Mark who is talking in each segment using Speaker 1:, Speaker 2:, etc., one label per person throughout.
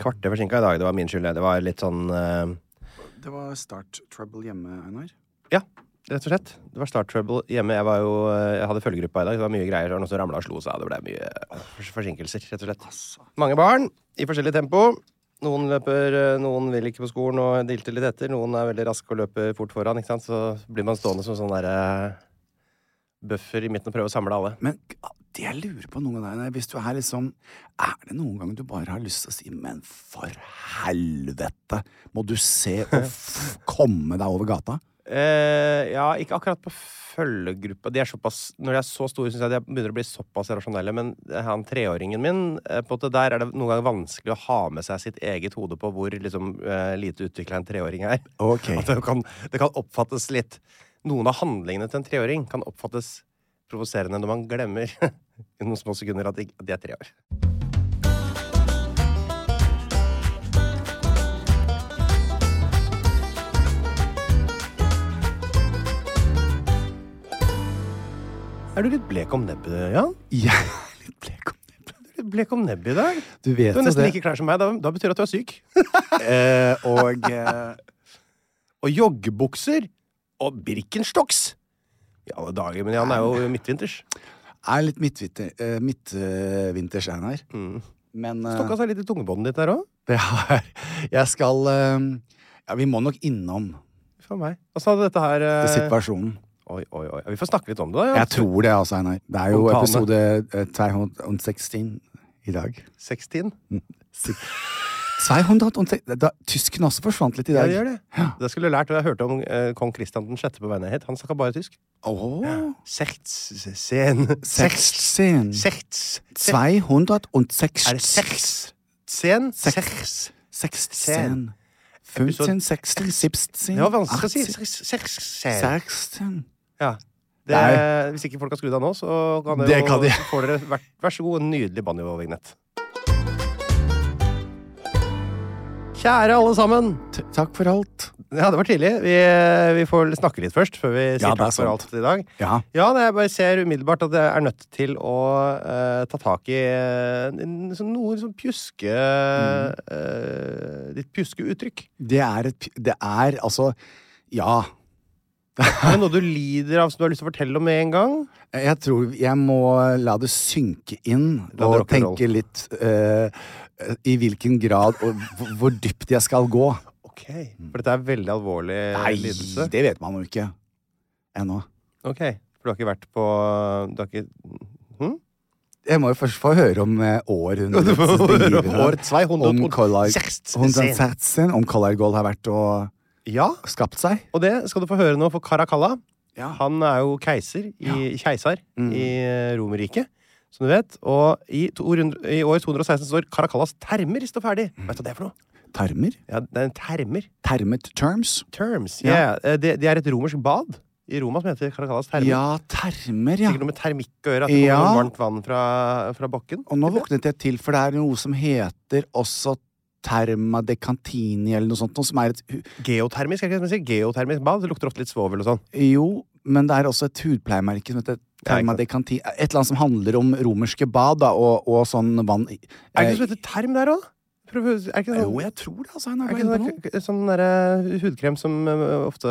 Speaker 1: Kvarter forsinka Mm. i dag. Det var min skyld. det. Det var litt sånn eh,
Speaker 2: Det var start trouble hjemme, Einar.
Speaker 1: Ja, rett og slett. Det var start trouble hjemme. Jeg, var jo, eh, jeg hadde følgegruppa i dag. Det var mye greier. Det var noen som ramla og slo seg. Det ble mye eh, fors- forsinkelser, rett og slett. Mange barn i forskjellig tempo. Noen løper, eh, noen vil ikke på skolen og dilter litt etter. Noen er veldig raske og løper fort foran. ikke sant? Så blir man stående som sånn derre buffer i midten og prøve å samle alle.
Speaker 2: Men k- det jeg lurer på noen ganger, Einar, hvis du er liksom Er det noen ganger du bare har lyst til å si 'men for helvete', må du se og f komme deg over gata?
Speaker 1: Eh, ja, ikke akkurat på følgegruppa. De er såpass, når de er så store, syns jeg de begynner å bli såpass rasjonelle. Men eh, han treåringen min, eh, på en måte der er det noen ganger vanskelig å ha med seg sitt eget hode på hvor liksom, eh, lite utvikla en treåring er.
Speaker 2: Ok.
Speaker 1: At det, kan, det kan oppfattes litt Noen av handlingene til en treåring kan oppfattes provoserende når man glemmer i noen små sekunder at de, at de er tre år. Er du litt blek om nebbet, Jan?
Speaker 2: Jeg er litt blek om det.
Speaker 1: Du er litt blek om nebbet i dag.
Speaker 2: Du vet
Speaker 1: Du er
Speaker 2: jo
Speaker 1: nesten
Speaker 2: det.
Speaker 1: like klar som meg. Da, da betyr det at du er syk.
Speaker 2: Eh, og eh,
Speaker 1: og joggebukser og Birkenstocks. I alle dager, men Jan er jo midtvinters.
Speaker 2: er litt midtvinte- eh, midtvinters, Einar. Men eh,
Speaker 1: Stokka seg litt i tungebåndet ditt der òg.
Speaker 2: det har Jeg skal eh, Ja, vi må nok innom
Speaker 1: For meg. Altså, dette her eh,
Speaker 2: situasjonen.
Speaker 1: Oi, oi, oi. Vi får snakke litt om det, da. Jan.
Speaker 2: Jeg tror det, altså, Einar. Det er jo
Speaker 1: Om tale.
Speaker 2: episode eh, 216 i dag.
Speaker 1: 16.
Speaker 2: 216 da, Tysken også forsvant litt i
Speaker 1: Ja,
Speaker 2: dag.
Speaker 1: det gjør det. Det skulle jeg lært, og jeg hørte om eh, kong Kristian 6. på vei ned hit. Han snakka bare tysk.
Speaker 2: Åh.
Speaker 1: Sertsen Serts.
Speaker 2: 16.
Speaker 1: Serts. Serts. Er det
Speaker 2: 216.
Speaker 1: Sertsen?
Speaker 2: Seks.
Speaker 1: Serts.
Speaker 2: 16. 15, 16, 17
Speaker 1: Det var vanskelig å si.
Speaker 2: 18,
Speaker 1: Serts- Sertsen.
Speaker 2: 16.
Speaker 1: Ja. Det,
Speaker 2: Nei.
Speaker 1: hvis ikke folk har skrudd av nå, så kan dere
Speaker 2: Det kan de.
Speaker 1: jo, får dere vær, vær så god en nydelig banjo-vignett. Kjære alle sammen.
Speaker 2: T- Takk for alt.
Speaker 1: Ja, det var tidlig. Vi, vi får snakke litt først, før vi sier
Speaker 2: Ja, det er
Speaker 1: takk for
Speaker 2: sant.
Speaker 1: alt i dag.
Speaker 2: Ja.
Speaker 1: Ja, nei, jeg bare ser umiddelbart at jeg er nødt til å eh, ta tak i eh, en- sånn noe sånn pjuske
Speaker 2: Mm.
Speaker 1: eh, Ditt pjuskeuttrykk.
Speaker 2: Det er et p- Det er altså Ja.
Speaker 1: Er det noe du lider av som du har lyst til å fortelle om med en gang?
Speaker 2: Jeg tror jeg må la det synke inn
Speaker 1: La det
Speaker 2: og
Speaker 1: rock'n'roll.
Speaker 2: tenke litt eh, i hvilken grad og hvor- hvor dypt jeg skal gå.
Speaker 1: Ok, For dette er veldig alvorlig lidelse.
Speaker 2: det vet man jo ikke ennå.
Speaker 1: Ok, for du har ikke vært på Du har ikke hm?
Speaker 2: Jeg må jo først få høre om eh, århundrets
Speaker 1: År
Speaker 2: begivenhet.
Speaker 1: 200
Speaker 2: Om Collar
Speaker 1: seksten.
Speaker 2: om Collar Gold har vært og
Speaker 1: Ja,
Speaker 2: skapt seg.
Speaker 1: og det skal du få høre nå, for Caracalla
Speaker 2: Ja.
Speaker 1: Han er jo keiser i, keisar i eh, Romerriket, som du vet. Og i, 200, i år 216 står Caracallas termer står ferdig. Vet du hva det er for noe?
Speaker 2: Termer?
Speaker 1: Ja, det er en termer.
Speaker 2: Termet terms?
Speaker 1: Terms.
Speaker 2: Ja.
Speaker 1: Ja. eh, Det, det er et romersk bad i Roma som heter Caracallas termer.
Speaker 2: Ja, termer, ja.
Speaker 1: Sikkert noe med termikk å gjøre. At det
Speaker 2: Ja.
Speaker 1: kommer noe varmt vann fra, fra bakken.
Speaker 2: Og nå våknet jeg til, for det er noe som heter også Terma de Cantini, eller noe sånt, noe som er et hu-
Speaker 1: Geotermisk, er det ikke det man sier? Geotermisk bad. Det lukter ofte litt svovel og sånn.
Speaker 2: Jo, Men det er også et hudpleiemerke som heter
Speaker 1: Ja, ikke sant.
Speaker 2: Termadecanti. Et eller annet som handler om romerske bad da, og, og sånn vann i-
Speaker 1: Er det
Speaker 2: eh,
Speaker 1: ikke noe som heter term der òg? Er det ikke
Speaker 2: Jo,
Speaker 1: sånn,
Speaker 2: jeg tror det, altså. Han
Speaker 1: er
Speaker 2: er
Speaker 1: det ikke
Speaker 2: bare inne
Speaker 1: sånn,
Speaker 2: på noe.
Speaker 1: der- sånn derre hudkrem som øh, ofte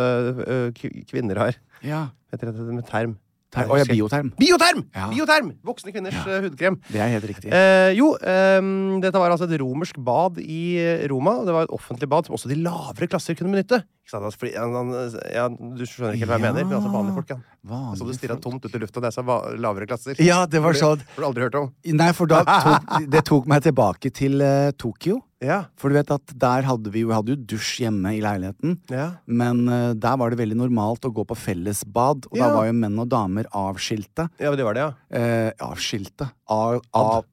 Speaker 1: øh, k- kvinner har?
Speaker 2: Ja.
Speaker 1: Heter det med term?
Speaker 2: Ter og ja, bioterm.
Speaker 1: Bioterm!
Speaker 2: Ja.
Speaker 1: Bioterm! Voksne kvinners
Speaker 2: Ja.
Speaker 1: øh, hudkrem.
Speaker 2: Det er helt riktig.
Speaker 1: Eh, jo, ehm, dette var altså et romersk bad i eh, Roma. og Det var et offentlig bad som også de lavere klasser kunne benytte. Ikke sant? Altså, fordi, han- han- ja, du skjønner ikke helt hva jeg mener, men altså vanlige folk. Ja.
Speaker 2: Vanlige
Speaker 1: Så du stirra
Speaker 2: folk.
Speaker 1: tomt ut i lufta, det er så va- lavere klasser.
Speaker 2: Ja, det var sånn.
Speaker 1: Har du aldri hørt om?
Speaker 2: Nei, for da tok, det tok meg tilbake til eh, Tokyo.
Speaker 1: Ja.
Speaker 2: For du vet at der hadde vi jo, vi hadde jo dusj hjemme i leiligheten.
Speaker 1: Ja.
Speaker 2: Men eh, der var det veldig normalt å gå på fellesbad, og da
Speaker 1: Ja.
Speaker 2: var jo menn og damer avskilte.
Speaker 1: ja, men det var det, ja.
Speaker 2: Eh, avskilte? Av, av,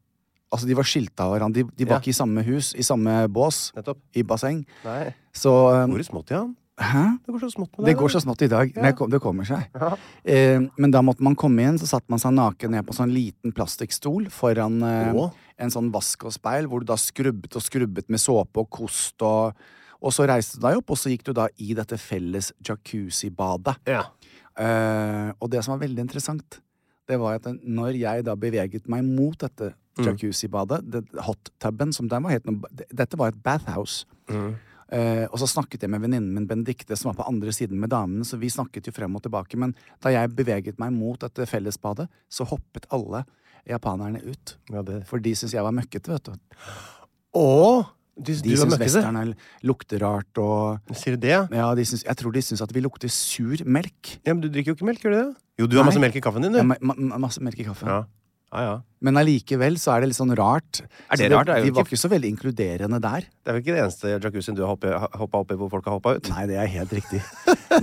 Speaker 2: altså, de var skilta av hverandre. De, de
Speaker 1: Ja.
Speaker 2: var ikke i samme hus, i samme bås,
Speaker 1: Nettopp.
Speaker 2: i basseng.
Speaker 1: Nei.
Speaker 2: Så eh,
Speaker 1: Går det smått, ja?
Speaker 2: Hæ?
Speaker 1: Det går så smått med
Speaker 2: Det
Speaker 1: deg,
Speaker 2: går
Speaker 1: da.
Speaker 2: så smått i dag. men jeg kom- Det kommer seg. Eh, men da måtte man komme inn, så satte man seg naken ned på en sånn liten plastikkstol foran eh,
Speaker 1: Å.
Speaker 2: en sånn vask og speil, hvor du da skrubbet og skrubbet med såpe og kost og Og så reiste du deg opp, og så gikk du da i dette felles jacuzzi-badet.
Speaker 1: Ja.
Speaker 2: Eh, og det som var veldig interessant, det var at når jeg da beveget meg mot dette
Speaker 1: Mm.
Speaker 2: jacuzzi-badet, det- hot-tuben, som den var helt noe Dette var et bathhouse.
Speaker 1: Mm.
Speaker 2: Eh, og så snakket jeg med venninnen min Benedicte, som var på andre siden med damene, så vi snakket jo frem og tilbake. Men da jeg beveget meg mot dette fellesbadet, så hoppet alle japanerne ut.
Speaker 1: ja det.
Speaker 2: For de syntes jeg var møkkete, vet du.
Speaker 1: Å! Du,
Speaker 2: De
Speaker 1: du er
Speaker 2: syntes
Speaker 1: møkkete?
Speaker 2: westerne lukter rart og
Speaker 1: Sier du det, ja?
Speaker 2: ja, de syns- Jeg tror de syns at vi lukter sur melk.
Speaker 1: ja? Men du drikker jo ikke melk, gjør du det? Jo, du har
Speaker 2: Nei.
Speaker 1: masse melk i kaffen din, du.
Speaker 2: Ja, ma ma masse melk i kaffen.
Speaker 1: Ja. Ja, ja.
Speaker 2: Men allikevel så er det litt sånn rart.
Speaker 1: Er det
Speaker 2: Så
Speaker 1: rart? Det er jo
Speaker 2: de var
Speaker 1: ikke-
Speaker 2: ikke så veldig inkluderende der.
Speaker 1: Det er vel ikke det eneste jacuzzien du har hoppa opp i hvor folk har hoppa ut?
Speaker 2: Nei, det er helt riktig.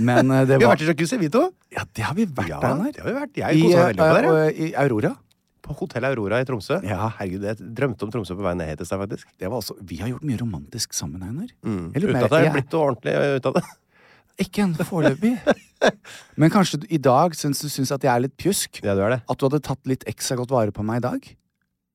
Speaker 2: Men eh, det
Speaker 1: Vi har
Speaker 2: var
Speaker 1: vært i jacuzzi, vi to.
Speaker 2: Ja, det har vi vært, Einar.
Speaker 1: det har vi vært. Jeg koset meg
Speaker 2: eh,
Speaker 1: veldig oppe der,
Speaker 2: eh, I Aurora.
Speaker 1: På Hotell Aurora i Tromsø.
Speaker 2: Ja.
Speaker 1: Herregud, jeg drømte om Tromsø på vei ned hit i stad, faktisk.
Speaker 2: Det var også, vi har gjort mye romantisk sammen, Einar. Jeg
Speaker 1: Mm.
Speaker 2: lurer
Speaker 1: Uten
Speaker 2: på-
Speaker 1: at det
Speaker 2: jeg-
Speaker 1: er blitt noe ordentlig eh, ut av det.
Speaker 2: Ikke ennå foreløpig. Men kanskje du i dag syns du syns at jeg er litt pjusk?
Speaker 1: Ja, du er det.
Speaker 2: At du hadde tatt litt ekstra godt vare på meg i dag?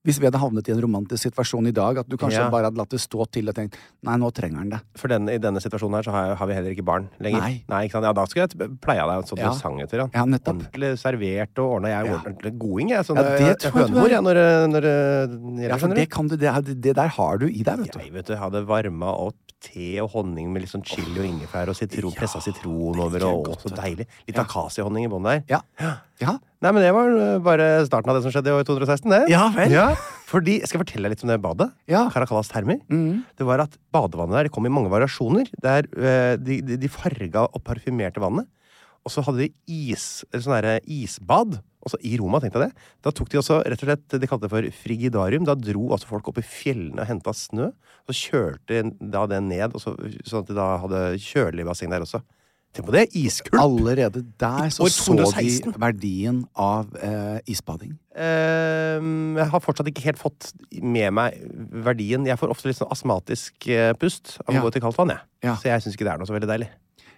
Speaker 2: Hvis vi hadde havnet i en romantisk situasjon i dag, at du kanskje
Speaker 1: Ja.
Speaker 2: bare hadde latt det stå til og tenkt nei, nå trenger han det.
Speaker 1: For denne, i denne situasjonen her så har, jeg, har vi heller ikke barn lenger.
Speaker 2: Nei.
Speaker 1: ikke sant? Ja, da skulle jeg t- pleia deg sånn
Speaker 2: Ja.
Speaker 1: du sang etter han.
Speaker 2: Ja, nettopp.
Speaker 1: Ordentlig servert og ordna. Jeg er
Speaker 2: Ja.
Speaker 1: ordentlig goding, jeg. Sånn,
Speaker 2: Ja, det
Speaker 1: jeg- jeg
Speaker 2: tror jeg du er.
Speaker 1: hønemor, jeg, når, eh, når eh,
Speaker 2: Ja,
Speaker 1: jeg
Speaker 2: for
Speaker 1: skjønner
Speaker 2: det
Speaker 1: du.
Speaker 2: kan du, det, er- det der har du i deg, vet du.
Speaker 1: Jeg vet du, hadde varma opp te og honning med litt sånn chili og ingefær og sitron, pressa sitron over, og å, så deilig. Litt akasiehonning i bånn der.
Speaker 2: Ja. ja.
Speaker 1: Nei, men det var øh, bare starten av det som skjedde i år 216, det.
Speaker 2: Ja, vel.
Speaker 1: fordi, Skal jeg fortelle deg litt om det badet?
Speaker 2: Ja. Mm.
Speaker 1: Caracallas termer. Det var at Badevannet der det kom i mange variasjoner. Der, øh, de, de- de farga og parfymerte vannet. Og så hadde de is, eller sånn derre isbad. Også I Roma, tenkte jeg det. Da tok de også rett og slett, de kalte det for frigidarium. Da dro altså folk opp i fjellene og henta snø. Så kjølte de da det ned, og så, sånn at de da hadde kjølig basseng der også. Tenk på det! Iskulp!
Speaker 2: Allerede der så
Speaker 1: År
Speaker 2: så de
Speaker 1: 216.
Speaker 2: verdien av eh, isbading.
Speaker 1: Ehm, jeg har fortsatt ikke helt fått med meg verdien. Jeg får ofte litt sånn astmatisk eh, pust av
Speaker 2: Ja.
Speaker 1: å gå til kaldt vann. Jeg.
Speaker 2: Ja.
Speaker 1: Så jeg syns ikke det er noe så veldig deilig.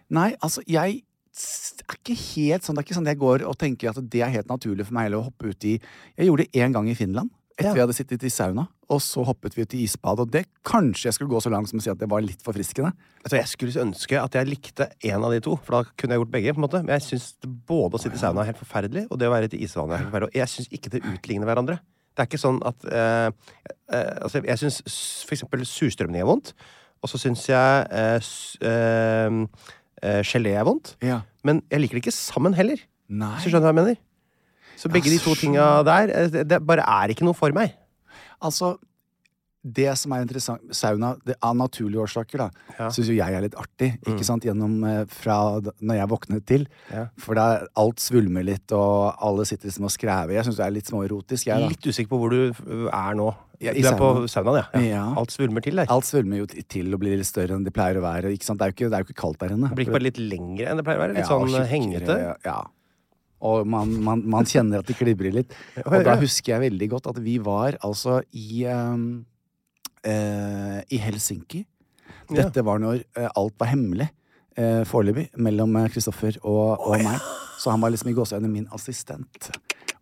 Speaker 2: Nei, altså, jeg s- er ikke helt sånn. Det er ikke sånn at jeg går og tenker at det er helt naturlig for meg heller å hoppe uti Jeg gjorde det én gang i Finland. Etter
Speaker 1: Ja.
Speaker 2: vi hadde sittet i sauna, og så hoppet vi ut i isbad. Og det kanskje jeg skulle gå så langt som å si at det var litt forfriskende.
Speaker 1: Altså, jeg skulle ønske at jeg likte én av de to, for da kunne jeg gjort begge. på en måte Men jeg syns både å sitte i sauna er helt forferdelig, og det å være ute i isvannet er helt forferdelig. Og jeg syns ikke det utligner hverandre. Det er ikke sånn at eh, eh, altså, Jeg syns for eksempel surstrømning er vondt, og så syns jeg eh, s- eh, eh, gelé er vondt.
Speaker 2: Ja.
Speaker 1: Men jeg liker det ikke sammen heller.
Speaker 2: Nei.
Speaker 1: Hvis du skjønner hva jeg mener? Så begge de to tinga der, eh, det, det bare er ikke noe for meg.
Speaker 2: Altså, det som er interessant Sauna, det av naturlige årsaker, da, syns jo jeg er litt artig.
Speaker 1: Mm.
Speaker 2: Ikke sant? Gjennom eh, fra d- når jeg våknet til. For da er alt svulmer litt, og alle sitter liksom og skræver. Jeg syns det er litt småerotisk, jeg, da.
Speaker 1: Litt usikker på hvor du øh, er nå.
Speaker 2: Ja, i
Speaker 1: du er på saunaen,
Speaker 2: saunaen.
Speaker 1: ja. ja.
Speaker 2: Ja.
Speaker 1: Alt svulmer til der.
Speaker 2: Alt svulmer jo t- til og blir litt større enn de pleier å være. Ikke sant? Det er jo ikke, det er jo ikke kaldt der inne.
Speaker 1: Det blir ikke bare litt lengre enn det pleier å være? Litt
Speaker 2: Ja, og
Speaker 1: sånn
Speaker 2: tjukkere,
Speaker 1: hengete?
Speaker 2: Ja. Og man, man, man kjenner at det klibrer litt. Og da husker jeg veldig godt at vi var altså i ehm, eh, I Helsinki. Dette var når eh, alt var hemmelig eh, foreløpig mellom eh, Kristoffer og, og meg. Så han var liksom i gåseøynene min assistent.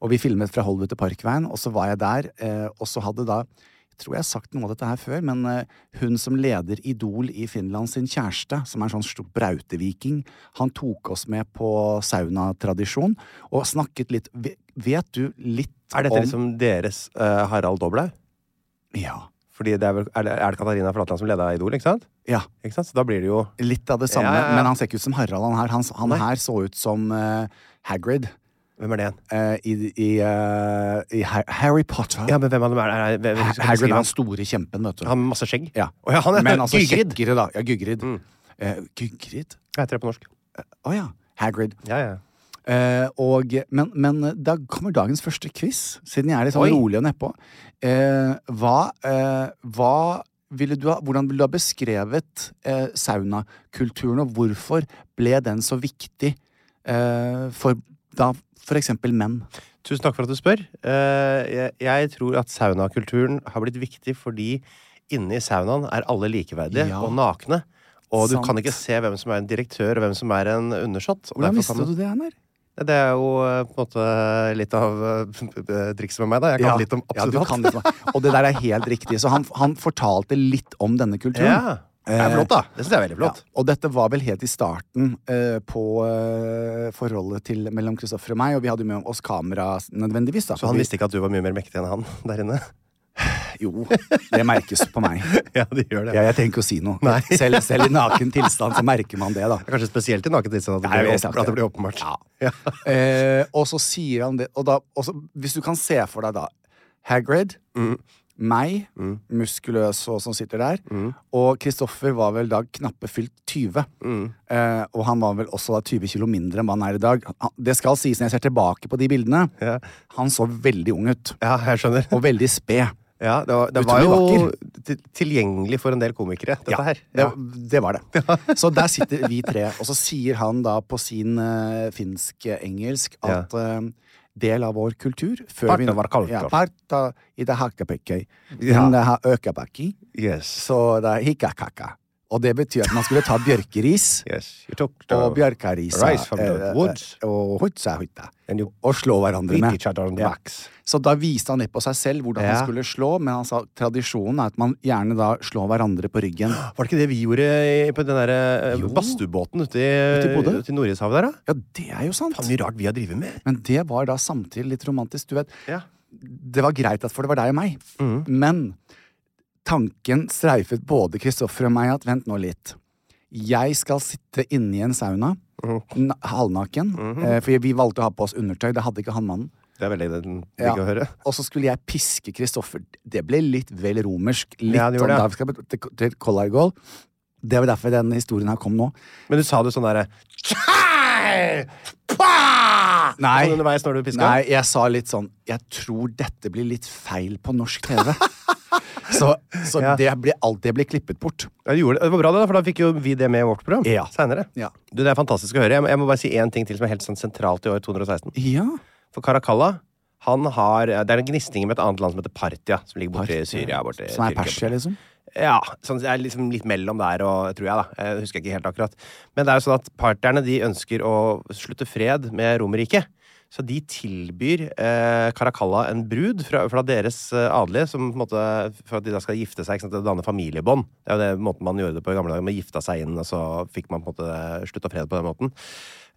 Speaker 2: Og vi filmet fra Hollywood til Parkveien, og så var jeg der, eh, og så hadde da tror jeg har sagt noe av dette her før, men eh, hun som leder Idol i Finland, sin kjæreste, som er en sånn stor brauteviking, han tok oss med på saunatradisjon og snakket litt Ve- Vet du litt
Speaker 1: Er dette
Speaker 2: om
Speaker 1: liksom deres eh, Harald Doblaug?
Speaker 2: Ja.
Speaker 1: Fordi det er, vel, er, det, er det Katarina Flatland som leda Idol, ikke sant?
Speaker 2: ja.
Speaker 1: ikke sant? Så da blir det jo
Speaker 2: Litt av det samme,
Speaker 1: Ja, ja, ja.
Speaker 2: men han ser ikke ut som Harald. Han her, han, han her så ut som eh, Hagrid
Speaker 1: Hvem er det igjen?
Speaker 2: eh, i, i, eh, i Ha- Harry Potter.
Speaker 1: Ja, men hvem av dem er det? Er, hvem-
Speaker 2: Ha-
Speaker 1: hvem-
Speaker 2: Hagrid
Speaker 1: beskriv
Speaker 2: er
Speaker 1: han?
Speaker 2: den store kjempen, vet du.
Speaker 1: Han med masse skjegg?
Speaker 2: Ja.
Speaker 1: Å ja, han er
Speaker 2: men altså
Speaker 1: Gygrid. Mm.
Speaker 2: kjekkere, da. Ja, Gygrid. Eh, Gygrid? Eh,
Speaker 1: Hva heter det på norsk?
Speaker 2: Å ja. Hagrid.
Speaker 1: Ja, ja.
Speaker 2: Eh, og, men, men da kommer dagens første quiz, siden jeg er litt sånn
Speaker 1: Oi.
Speaker 2: rolig og nedpå. Eh, hva, eh, hva ville du ha, hvordan ville du ha beskrevet eh, saunakulturen, og hvorfor ble den så viktig eh, for da for eksempel menn?
Speaker 1: Tusen takk for at du spør. Eh, jeg, jeg tror at saunakulturen har blitt viktig fordi inne i saunaen er alle likeverdige
Speaker 2: Ja.
Speaker 1: og nakne. Og du
Speaker 2: Sant.
Speaker 1: kan ikke se hvem som er en direktør og hvem som er en undersått. og derfor
Speaker 2: Hvordan visste
Speaker 1: kan-
Speaker 2: du det, Einar?
Speaker 1: Det er jo eh, på en måte litt av eh, trikset med meg, da. Jeg kan litt om absolutt
Speaker 2: ja, du
Speaker 1: alt.
Speaker 2: kan litt om- og det der er helt riktig. Så han, han fortalte litt om denne kulturen.
Speaker 1: Ja.
Speaker 2: Eh,
Speaker 1: Det er flott, da. Det syns jeg er veldig flott.
Speaker 2: Ja, og dette var vel helt i starten eh, på eh, forholdet til, mellom Kristoffer og meg, og vi hadde jo med oss kamera s- nødvendigvis. Da,
Speaker 1: Så han
Speaker 2: fordi-
Speaker 1: visste ikke at du var mye mer mektig enn han der inne?
Speaker 2: Jo, det merkes på meg.
Speaker 1: Ja, de gjør det.
Speaker 2: Ja, jeg trenger ikke å si noe. Selv, selv i naken tilstand så merker man det, da.
Speaker 1: Det er Kanskje spesielt i naken tilstand at,
Speaker 2: Nei,
Speaker 1: det blir
Speaker 2: jeg
Speaker 1: åpen-
Speaker 2: sa
Speaker 1: at
Speaker 2: ikke
Speaker 1: det
Speaker 2: det.
Speaker 1: blir åpenbart. Ja.
Speaker 2: Eh, og så sier han det, og da og så, Hvis du kan se for deg, da. Hagrid,
Speaker 1: Mm.
Speaker 2: meg, muskuløs og som sitter der,
Speaker 1: Mm.
Speaker 2: og Kristoffer var vel da knappe fylt 20.
Speaker 1: Mm.
Speaker 2: Eh, og han var vel også da 20 kilo mindre enn hva han er i dag. Han, det skal sies når jeg ser tilbake på de bildene,
Speaker 1: Ja.
Speaker 2: han så veldig ung ut.
Speaker 1: ja, jeg skjønner.
Speaker 2: Og veldig sped.
Speaker 1: Ja, det var, det var
Speaker 2: Utrolig
Speaker 1: jo til- tilgjengelig for en del komikere, dette her. Ja.
Speaker 2: Det, det var det. Så der sitter vi tre, og så sier han da på sin eh, finsk-engelsk at eh, del av vår kultur før
Speaker 1: Parta
Speaker 2: vi nå-
Speaker 1: var kaldt,
Speaker 2: Ja,
Speaker 1: da.
Speaker 2: parta i det hakkepekkei.
Speaker 1: Ja.
Speaker 2: Men det har økebakki,
Speaker 1: Yes. sånn.
Speaker 2: så det er hikkakakka. Og det betyr at man skulle ta bjørkeris
Speaker 1: yes. You took the
Speaker 2: og bjørkarisa
Speaker 1: rice from the
Speaker 2: eh,
Speaker 1: woods.
Speaker 2: og hutsa hutta.
Speaker 1: And you
Speaker 2: Og slå hverandre
Speaker 1: beat
Speaker 2: med.
Speaker 1: each other on the
Speaker 2: Ja.
Speaker 1: backs.
Speaker 2: Så da viste han litt på seg selv hvordan
Speaker 1: Ja.
Speaker 2: han skulle slå, men han sa tradisjonen er at man gjerne da slår hverandre på ryggen.
Speaker 1: Var det ikke det vi gjorde i- på den der eh,
Speaker 2: Jo.
Speaker 1: badstuebåten ute
Speaker 2: Ute i
Speaker 1: i,
Speaker 2: Bodø?
Speaker 1: ute i Nordishavet der, da?
Speaker 2: Ja, det er jo sant.
Speaker 1: Faen, mye rart vi har drevet med.
Speaker 2: Men det var da samtidig litt romantisk. Du vet,
Speaker 1: Ja.
Speaker 2: det var greit at for det var deg og meg,
Speaker 1: Mm.
Speaker 2: men tanken streifet både Kristoffer og meg at vent nå litt. Jeg skal sitte inne i en sauna,
Speaker 1: Mm.
Speaker 2: n- halvnaken,
Speaker 1: Mhm.
Speaker 2: eh, for vi valgte å ha på oss undertøy, det hadde ikke han mannen.
Speaker 1: Det er veldig den-
Speaker 2: Ja.
Speaker 1: digg å høre.
Speaker 2: Og så skulle jeg piske Kristoffer. Det ble litt vel romersk. Litt
Speaker 1: Ja, det gjorde
Speaker 2: sånn
Speaker 1: det.
Speaker 2: da vi skal til, til Kollargol. Det var derfor den historien her kom nå.
Speaker 1: Men du sa det sånn derre Tjei! Pah!
Speaker 2: Nei.
Speaker 1: Sånn underveis når du piska?
Speaker 2: Nei, jeg sa litt sånn Jeg tror dette blir litt feil på norsk TV. så så
Speaker 1: Ja.
Speaker 2: det ble, alt det ble klippet bort.
Speaker 1: Ja, du gjorde det. det var bra, det, da, for da fikk jo vi det med i vårt program
Speaker 2: Ja.
Speaker 1: senere.
Speaker 2: Ja.
Speaker 1: Du, det er fantastisk å høre. Jeg må, jeg må bare si én ting til som er helt sånn sentralt i år 216.
Speaker 2: Ja.
Speaker 1: For Karakalla han har, Det er en gnisning med et annet land som heter Partia, som ligger borte i Syria. Borte, i
Speaker 2: Som er
Speaker 1: Tyrkia.
Speaker 2: Persia, liksom?
Speaker 1: Ja. Sånn, det er liksom litt mellom der og tror jeg, da. Jeg husker ikke helt akkurat. Men det er jo sånn at parterne de ønsker å slutte fred med Romerriket. Så de tilbyr eh, Caracalla en brud fra, fra deres eh, adelige, som på en måte, for at de da skal gifte seg ikke sant, og danne familiebånd. Det er jo det måten man gjorde det på i gamle dager. Man gifta seg inn, og så fikk man på en måte slutta fred på den måten.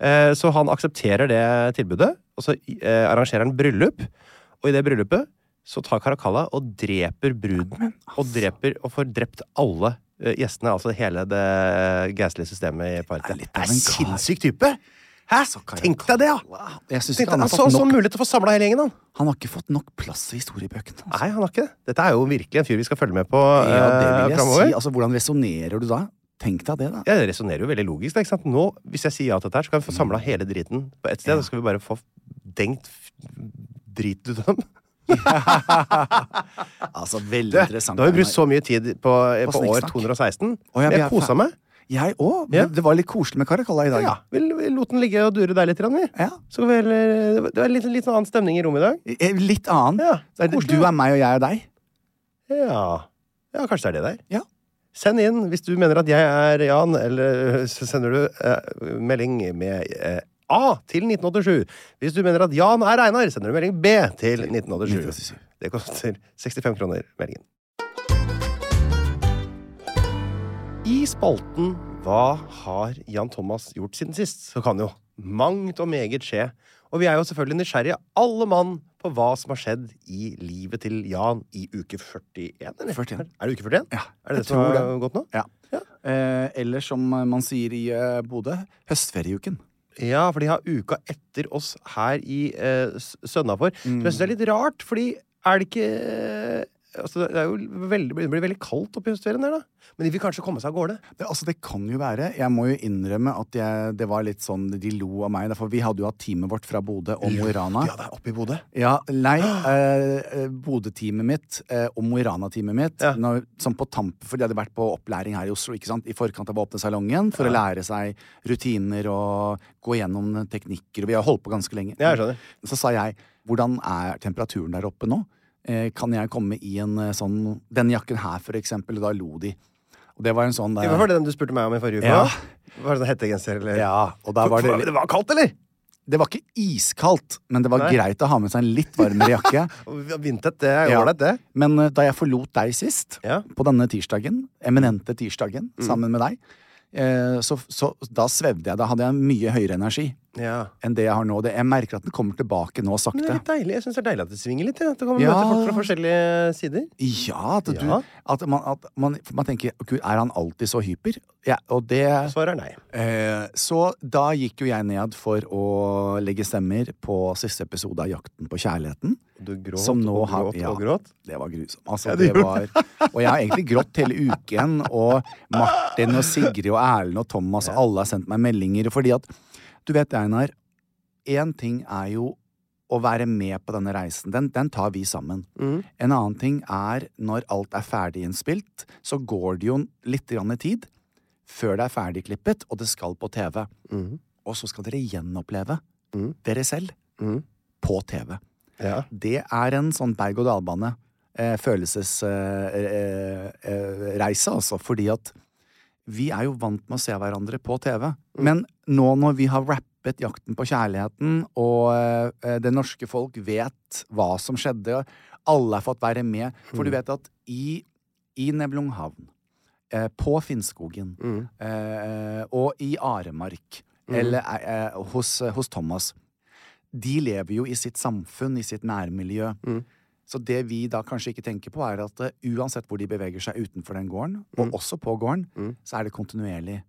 Speaker 1: Eh, så han aksepterer det tilbudet, og så eh, arrangerer han bryllup. Og i det bryllupet så tar Caracalla og dreper bruden.
Speaker 2: altså.
Speaker 1: Og dreper og får drept alle eh, gjestene, altså hele det geistlige systemet i
Speaker 2: Det er
Speaker 1: partiet.
Speaker 2: litt av en kar.
Speaker 1: type! Hæ?
Speaker 2: Så Caracalla.
Speaker 1: Tenk deg det, ja!
Speaker 2: Wow. Jeg synes
Speaker 1: Tenkte,
Speaker 2: ikke han,
Speaker 1: han
Speaker 2: har
Speaker 1: så
Speaker 2: fått
Speaker 1: så
Speaker 2: nok,
Speaker 1: mulighet til å få samla hele gjengen, han.
Speaker 2: han har ikke fått nok plass i historiebøkene. altså.
Speaker 1: Nei, han har ikke det. Dette er jo virkelig en fyr vi skal følge med på
Speaker 2: Ja, det vil
Speaker 1: eh,
Speaker 2: jeg
Speaker 1: framover.
Speaker 2: si. Altså, hvordan resonnerer du da? Tenk deg det, da.
Speaker 1: Ja, det resonnerer jo veldig logisk. Da, ikke sant? Nå, hvis jeg sier ja til dette, her, så kan vi få samla hele driten på ett sted. Så skal vi bare få dengt f- drit ut av dem.
Speaker 2: Altså, veldig
Speaker 1: Du
Speaker 2: interessant.
Speaker 1: har jo brukt
Speaker 2: Einar.
Speaker 1: så mye tid på, eh, på,
Speaker 2: På
Speaker 1: år
Speaker 2: snikksnakk.
Speaker 1: 216.
Speaker 2: Å, ja,
Speaker 1: men
Speaker 2: vi er
Speaker 1: jeg kosa
Speaker 2: fer-
Speaker 1: meg.
Speaker 2: Jeg òg.
Speaker 1: Ja.
Speaker 2: Det var litt koselig med Caracalla i dag.
Speaker 1: Ja, vi, vi lot den ligge og dure der litt. grann, Vi.
Speaker 2: Ja.
Speaker 1: Så vi heller, det var- det var litt, litt sånn annen stemning i rommet i dag.
Speaker 2: Eh, Litt annen.
Speaker 1: Ja, det er
Speaker 2: Det er
Speaker 1: koselig.
Speaker 2: du er meg, og jeg er deg.
Speaker 1: Ja. ja, kanskje det er det der.
Speaker 2: Ja.
Speaker 1: Send inn hvis du mener at jeg er Jan, eller så sender du eh, melding med eh, A til 1987. Hvis du mener at Jan er Einar, sender du melding B til 1987.
Speaker 2: 1987.
Speaker 1: Det koster 65 kroner meldingen. I spalten Hva har Jan Thomas gjort siden sist? Så kan jo mangt og meget skje. Og vi er jo selvfølgelig nysgjerrige, alle mann, på hva som har skjedd i livet til Jan i uke 41. Eller?
Speaker 2: 41.
Speaker 1: Er det uke 41?
Speaker 2: Ja,
Speaker 1: er det
Speaker 2: jeg
Speaker 1: det som
Speaker 2: tror
Speaker 1: har
Speaker 2: det.
Speaker 1: gått nå?
Speaker 2: Ja. Eh, eller som man sier i eh, Bodø, høstferieuken.
Speaker 1: Ja, for de har uka etter oss her i eh, S- Sønnafor. Så jeg syns det er litt rart, fordi er det ikke eh, altså, Det er jo veldig, det blir veldig kaldt oppe i høstferien der, da. Men de vil kanskje komme seg av gårde.
Speaker 2: Det, altså, det kan jo være. Jeg må jo innrømme at jeg, det var litt sånn de lo av meg. da, For vi hadde jo hatt teamet vårt fra Bodø og Mo i Rana.
Speaker 1: Ja, det er oppe i Bodø.
Speaker 2: Ja, nei. Eh, eh, Bodø-teamet mitt eh, og Mo i Rana-teamet mitt
Speaker 1: Ja.
Speaker 2: når, Som på tampen, for de hadde vært på opplæring her i Oslo ikke sant? i forkant av å åpne salongen for å lære seg rutiner og gå gjennom teknikker. Og vi har holdt på ganske lenge.
Speaker 1: Ja, jeg skjønner.
Speaker 2: Så sa jeg hvordan er temperaturen der oppe nå? Eh, kan jeg komme i en eh, sånn Denne jakken her, for eksempel. Og da lo de. Og det var en sånn der,
Speaker 1: Hva var det den du spurte meg om i forrige uke?
Speaker 2: Ja.
Speaker 1: Var det sånn hettegenser eller
Speaker 2: Ja, og da var det
Speaker 1: det var kaldt, eller?
Speaker 2: Det var ikke iskaldt, men det var
Speaker 1: Nei.
Speaker 2: greit å ha med seg en litt varmere jakke.
Speaker 1: Vindtett, det er
Speaker 2: Ja.
Speaker 1: ålreit, det.
Speaker 2: Men eh, da jeg forlot deg sist,
Speaker 1: Ja. Mm.
Speaker 2: på denne tirsdagen, eminente tirsdagen, sammen med deg, eh, så, så da svevde jeg. Da hadde jeg mye høyere energi
Speaker 1: Ja.
Speaker 2: enn det jeg har nå. Det, jeg merker at den kommer tilbake
Speaker 1: Men
Speaker 2: nå
Speaker 1: det er
Speaker 2: sakte.
Speaker 1: litt deilig. Jeg syns det er deilig at det svinger litt. Ja. At det kommer
Speaker 2: Ja.
Speaker 1: møte folk fra forskjellige sider.
Speaker 2: Ja, at, du,
Speaker 1: Ja.
Speaker 2: at, man, at man, for man tenker Gud, er han alltid så hyper? Ja, og det
Speaker 1: Svaret er nei.
Speaker 2: eh, Så da gikk jo jeg ned for å legge stemmer på siste episode av Jakten på kjærligheten.
Speaker 1: Du gråt
Speaker 2: Som nå
Speaker 1: og
Speaker 2: har-
Speaker 1: gråt
Speaker 2: ja.
Speaker 1: og gråt.
Speaker 2: Det var grusomt. Altså,
Speaker 1: Ja, det
Speaker 2: det var,
Speaker 1: gjorde
Speaker 2: og jeg har egentlig grått hele uken. Og Martin og Sigrid og Erlend og Thomas og alle har sendt meg meldinger. Fordi at, du vet Einar, én ting er jo å være med på denne reisen. Den, den tar vi sammen.
Speaker 1: Mm.
Speaker 2: En annen ting er når alt er ferdig innspilt, så går det jo litt grann i tid før det er ferdig klippet, og det skal på TV.
Speaker 1: Mm.
Speaker 2: Og så skal dere gjenoppleve dere selv
Speaker 1: Mm.
Speaker 2: på TV.
Speaker 1: Ja.
Speaker 2: Det er en sånn berg-og-dal-bane. Eh, Følelsesreise, eh, eh, reise, altså. Fordi at vi er jo vant med å se hverandre på TV. Men nå når vi har rappet 'Jakten på kjærligheten', og eh, det norske folk vet hva som skjedde, alle har fått være med For du vet at i, i Nevlunghavn, eh, på Finnskogen
Speaker 1: Mm.
Speaker 2: eh, og i Aremark, eller eh, eh, hos, hos Thomas de lever jo i sitt samfunn, i sitt nærmiljø.
Speaker 1: Mm.
Speaker 2: Så det vi da kanskje ikke tenker på, er at eh, uansett hvor de beveger seg utenfor den gården,
Speaker 1: Mm.
Speaker 2: og også på gården, så er det kontinuerlig.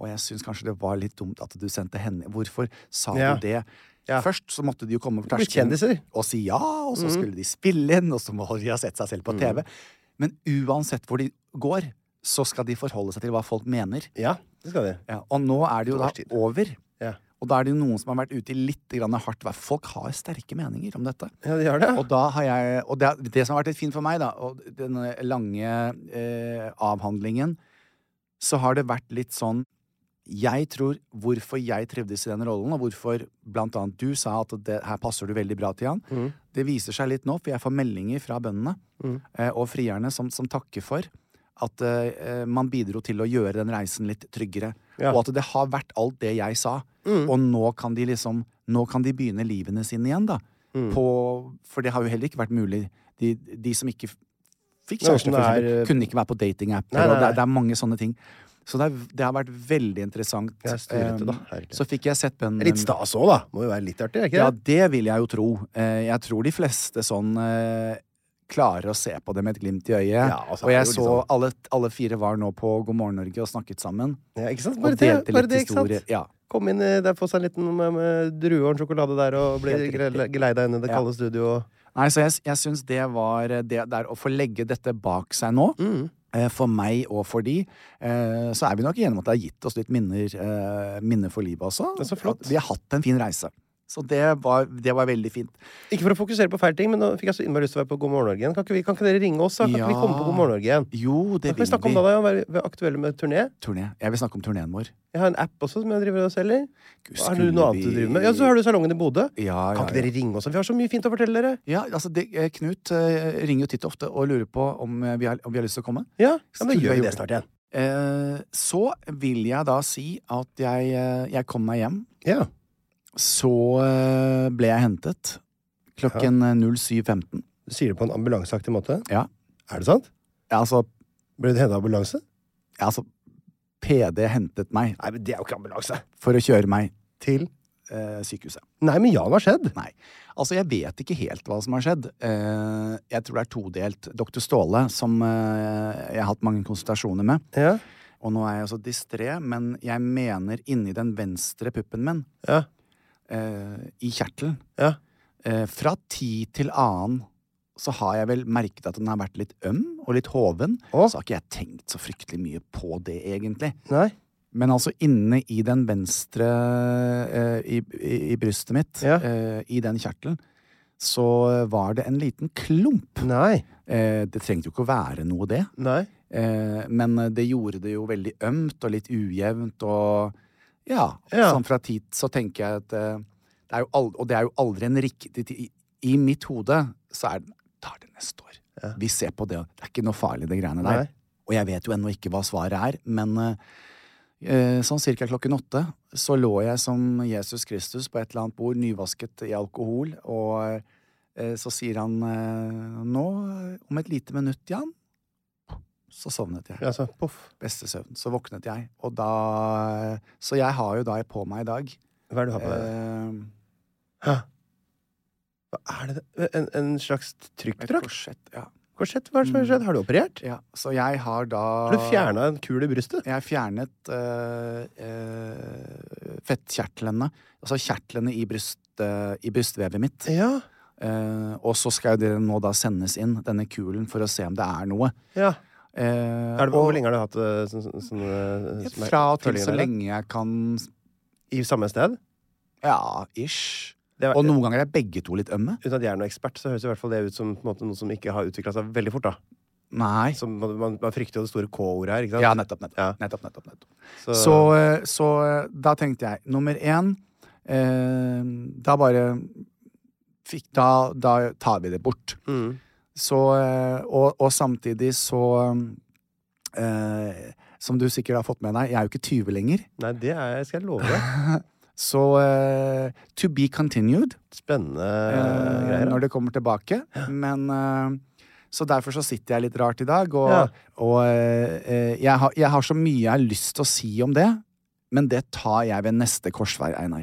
Speaker 2: Og jeg syns kanskje det var litt dumt at du sendte henne Hvorfor sa
Speaker 1: Ja.
Speaker 2: du det?
Speaker 1: Ja.
Speaker 2: Først så måtte de jo komme over
Speaker 1: blir
Speaker 2: terskelen
Speaker 1: kjendiser. Mhm.
Speaker 2: og si ja, og så skulle de spille inn, og så må de ha sett seg selv på TV. Men uansett hvor de går, så skal de forholde seg til hva folk mener.
Speaker 1: ja, det skal de.
Speaker 2: Ja, og nå er det jo da
Speaker 1: års tid.
Speaker 2: over.
Speaker 1: Ja.
Speaker 2: Og da er det jo noen som har vært ute i litt grann hardt vær. Folk har sterke meninger om dette.
Speaker 1: Ja, de gjør det.
Speaker 2: Og, da har jeg, og det, det som har vært litt fint for meg, da, og den lange eh, avhandlingen, så har det vært litt sånn Jeg tror hvorfor jeg trivdes i den rollen, og hvorfor blant annet du sa at det, her passer du veldig bra til han, det viser seg litt nå, for jeg får meldinger fra bøndene eh, og frierne som, som takker for at eh, man bidro til å gjøre den reisen litt tryggere.
Speaker 1: Ja.
Speaker 2: Og at det har vært alt det jeg sa. Og nå kan de liksom Nå kan de begynne livene sine igjen, da. På, for det har jo heller ikke vært mulig. De, de som ikke f- fikk
Speaker 1: Nei,
Speaker 2: kjæreste,
Speaker 1: sånn
Speaker 2: for
Speaker 1: det er,
Speaker 2: eksempel,
Speaker 1: eh,
Speaker 2: kunne ikke være på datingapper.
Speaker 1: Nei, nei,
Speaker 2: og Det,
Speaker 1: nei.
Speaker 2: det er mange sånne ting. Så det, er, det har vært veldig interessant.
Speaker 1: Det er styrete,
Speaker 2: Eh,
Speaker 1: da. Herregud.
Speaker 2: Så fikk jeg sett bøndene
Speaker 1: Det er Litt stas òg, da. Må jo være litt artig, er ikke
Speaker 2: ja,
Speaker 1: det?
Speaker 2: det vil jeg jo tro. Eh, Jeg tror de fleste sånn eh, klarer å se på det med et glimt i øyet.
Speaker 1: Ja, altså,
Speaker 2: og
Speaker 1: det er
Speaker 2: jeg
Speaker 1: jo
Speaker 2: så
Speaker 1: litt sånn-
Speaker 2: alle, alle fire var nå på God morgen Norge og snakket sammen.
Speaker 1: Ja, ikke sant?
Speaker 2: Og
Speaker 1: Bare det,
Speaker 2: delte
Speaker 1: bare
Speaker 2: litt
Speaker 1: det ikke sant?
Speaker 2: historier. Ja.
Speaker 1: Kom inn eh, der, få seg en liten med, med drue og en sjokolade der, og bli
Speaker 2: Helt riktig.
Speaker 1: gre- geleida inn i det
Speaker 2: Ja.
Speaker 1: kalde studio.
Speaker 2: Nei, så jeg, jeg syns det var eh, det der å få legge dette bak seg nå.
Speaker 1: Mm.
Speaker 2: eh, For meg og for de, eh, så er vi nok enige om at det har gitt oss litt minner, eh, minner for livet også.
Speaker 1: Det er så flott.
Speaker 2: At Vi har hatt en fin reise. Så det var, det var veldig fint.
Speaker 1: Ikke for å fokusere på feil ting, men nå fikk jeg så innmari lyst til å være på God morgen Norge igjen. Kan ikke, vi, kan ikke dere ringe oss, da? Kan ikke vi komme på God morgen Norge igjen?
Speaker 2: Jo, det
Speaker 1: Kan
Speaker 2: vil
Speaker 1: vi snakke om det, da? og Være være aktuelle med turné?
Speaker 2: Turné. Jeg vil snakke om turneen vår.
Speaker 1: Jeg har en app også som jeg driver og selger. Har du
Speaker 2: Gud,
Speaker 1: noe
Speaker 2: skulle
Speaker 1: annet du
Speaker 2: vi-
Speaker 1: driver med? Ja, så har du salongen i Bodø.
Speaker 2: Ja,
Speaker 1: Kan
Speaker 2: ja,
Speaker 1: ikke
Speaker 2: ja.
Speaker 1: dere ringe oss? Vi har så mye fint å fortelle dere.
Speaker 2: Ja, altså det, eh, Knut eh, ringer jo titt og ofte og lurer på om eh, vi har, om vi har lyst til å komme.
Speaker 1: Ja, ja
Speaker 2: Skulle
Speaker 1: men gjør
Speaker 2: vi
Speaker 1: vi det
Speaker 2: gjort
Speaker 1: snart igjen.
Speaker 2: Eh, så vil jeg da si at jeg, eh, jeg kom meg hjem.
Speaker 1: Ja.
Speaker 2: Så eh, ble jeg hentet klokken eh, 07.15.
Speaker 1: Du sier det på en ambulanseaktig måte.
Speaker 2: Ja.
Speaker 1: Er det sant?
Speaker 2: Ja, altså,
Speaker 1: Ble du hentet av ambulanse?
Speaker 2: ja, altså PD hentet meg
Speaker 1: Nei, men det er jo ikke ambulanse.
Speaker 2: for å kjøre meg til eh, sykehuset.
Speaker 1: Nei, men Jan, hva har skjedd?
Speaker 2: Nei. Altså, jeg vet ikke helt hva som har skjedd. Eh, jeg tror det er todelt. Dr. Ståle, som eh, jeg har hatt mange konsultasjoner med,
Speaker 1: Ja.
Speaker 2: og nå er jeg så distré, men jeg mener inni den venstre puppen min,
Speaker 1: Ja.
Speaker 2: eh, i kjertelen,
Speaker 1: Ja.
Speaker 2: eh, fra tid til annen så har jeg vel merket at den har vært litt øm og litt hoven.
Speaker 1: Å.
Speaker 2: Så har ikke jeg tenkt så fryktelig mye på det, egentlig.
Speaker 1: Nei.
Speaker 2: Men altså inne i den venstre eh, i, i, i brystet mitt,
Speaker 1: Ja.
Speaker 2: eh, i den kjertelen, så var det en liten klump.
Speaker 1: Nei.
Speaker 2: Eh, det trengte jo ikke å være noe, det.
Speaker 1: Nei.
Speaker 2: Eh, men det gjorde det jo veldig ømt og litt ujevnt og Ja.
Speaker 1: Ja.
Speaker 2: Sånn fra tid så tenker jeg at eh, det er jo aldri, Og det er jo aldri en riktig tid. I mitt hode så er det Tar det neste år. Vi ser på det. Det er ikke noe farlig, det greiene der.
Speaker 1: Nei.
Speaker 2: Og jeg vet jo ennå ikke hva svaret er, men eh, eh, sånn cirka klokken åtte så lå jeg som Jesus Kristus på et eller annet bord, nyvasket i alkohol, og eh, så sier han eh, nå, om et lite minutt, Jan, så sovnet jeg
Speaker 1: Altså, poff.
Speaker 2: beste søvn. Så våknet jeg, og da eh, Så jeg har jo da på meg i dag
Speaker 1: Hva er det du har på deg?
Speaker 2: eh,
Speaker 1: Hæ? Hva er det? En, en slags
Speaker 2: et
Speaker 1: trykkdrakt?
Speaker 2: korsett. Ja.
Speaker 1: Korsett? Mm. Hva er det som har skjedd? Har du operert?
Speaker 2: eh, ja. Så jeg har da
Speaker 1: Har du fjerna en kul i brystet?
Speaker 2: Jeg fjernet eh, eh, fettkjertlene, altså kjertlene i, bryst, eh, i brystvevet mitt.
Speaker 1: Ja.
Speaker 2: Eh, og så skal jo det nå da sendes inn, denne kulen, for å se om det er noe.
Speaker 1: ja.
Speaker 2: Eh,
Speaker 1: Er det, hvor
Speaker 2: og-
Speaker 1: lenge har du hatt eh, sånn, sånn, sånn, eh, som er-
Speaker 2: Fra og til
Speaker 1: følger deg?
Speaker 2: så lenge jeg kan
Speaker 1: I samme sted?
Speaker 2: Ja, ish.
Speaker 1: Det er-
Speaker 2: Og noen ganger er begge to litt ømme.
Speaker 1: Uten at jeg er noen ekspert, så høres i hvert fall det ut som på en måte, noe som ikke har utvikla seg veldig fort. da
Speaker 2: Nei.
Speaker 1: som, man, man, man frykter jo det store K-ordet her. ikke sant?
Speaker 2: Ja, nettopp, nettopp.
Speaker 1: Ja.
Speaker 2: nettopp, nettopp, nettopp.
Speaker 1: Så,
Speaker 2: Så, eh, så eh, da tenkte jeg Nummer én eh, Da bare fikk, da, da tar vi det bort.
Speaker 1: Mm.
Speaker 2: Så, eh, og, og samtidig så eh, Som du sikkert har fått med deg, jeg er jo ikke 20 lenger.
Speaker 1: Nei, det er, skal jeg love deg.
Speaker 2: Så eh, to be continued
Speaker 1: Spennende
Speaker 2: eh,
Speaker 1: greier. da.
Speaker 2: når det kommer tilbake. Men eh, så derfor så sitter jeg litt rart i dag, og,
Speaker 1: Ja.
Speaker 2: og eh, eh, jeg, har, jeg har så mye jeg har lyst til å si om det, men det tar jeg ved neste korsvei, Einar.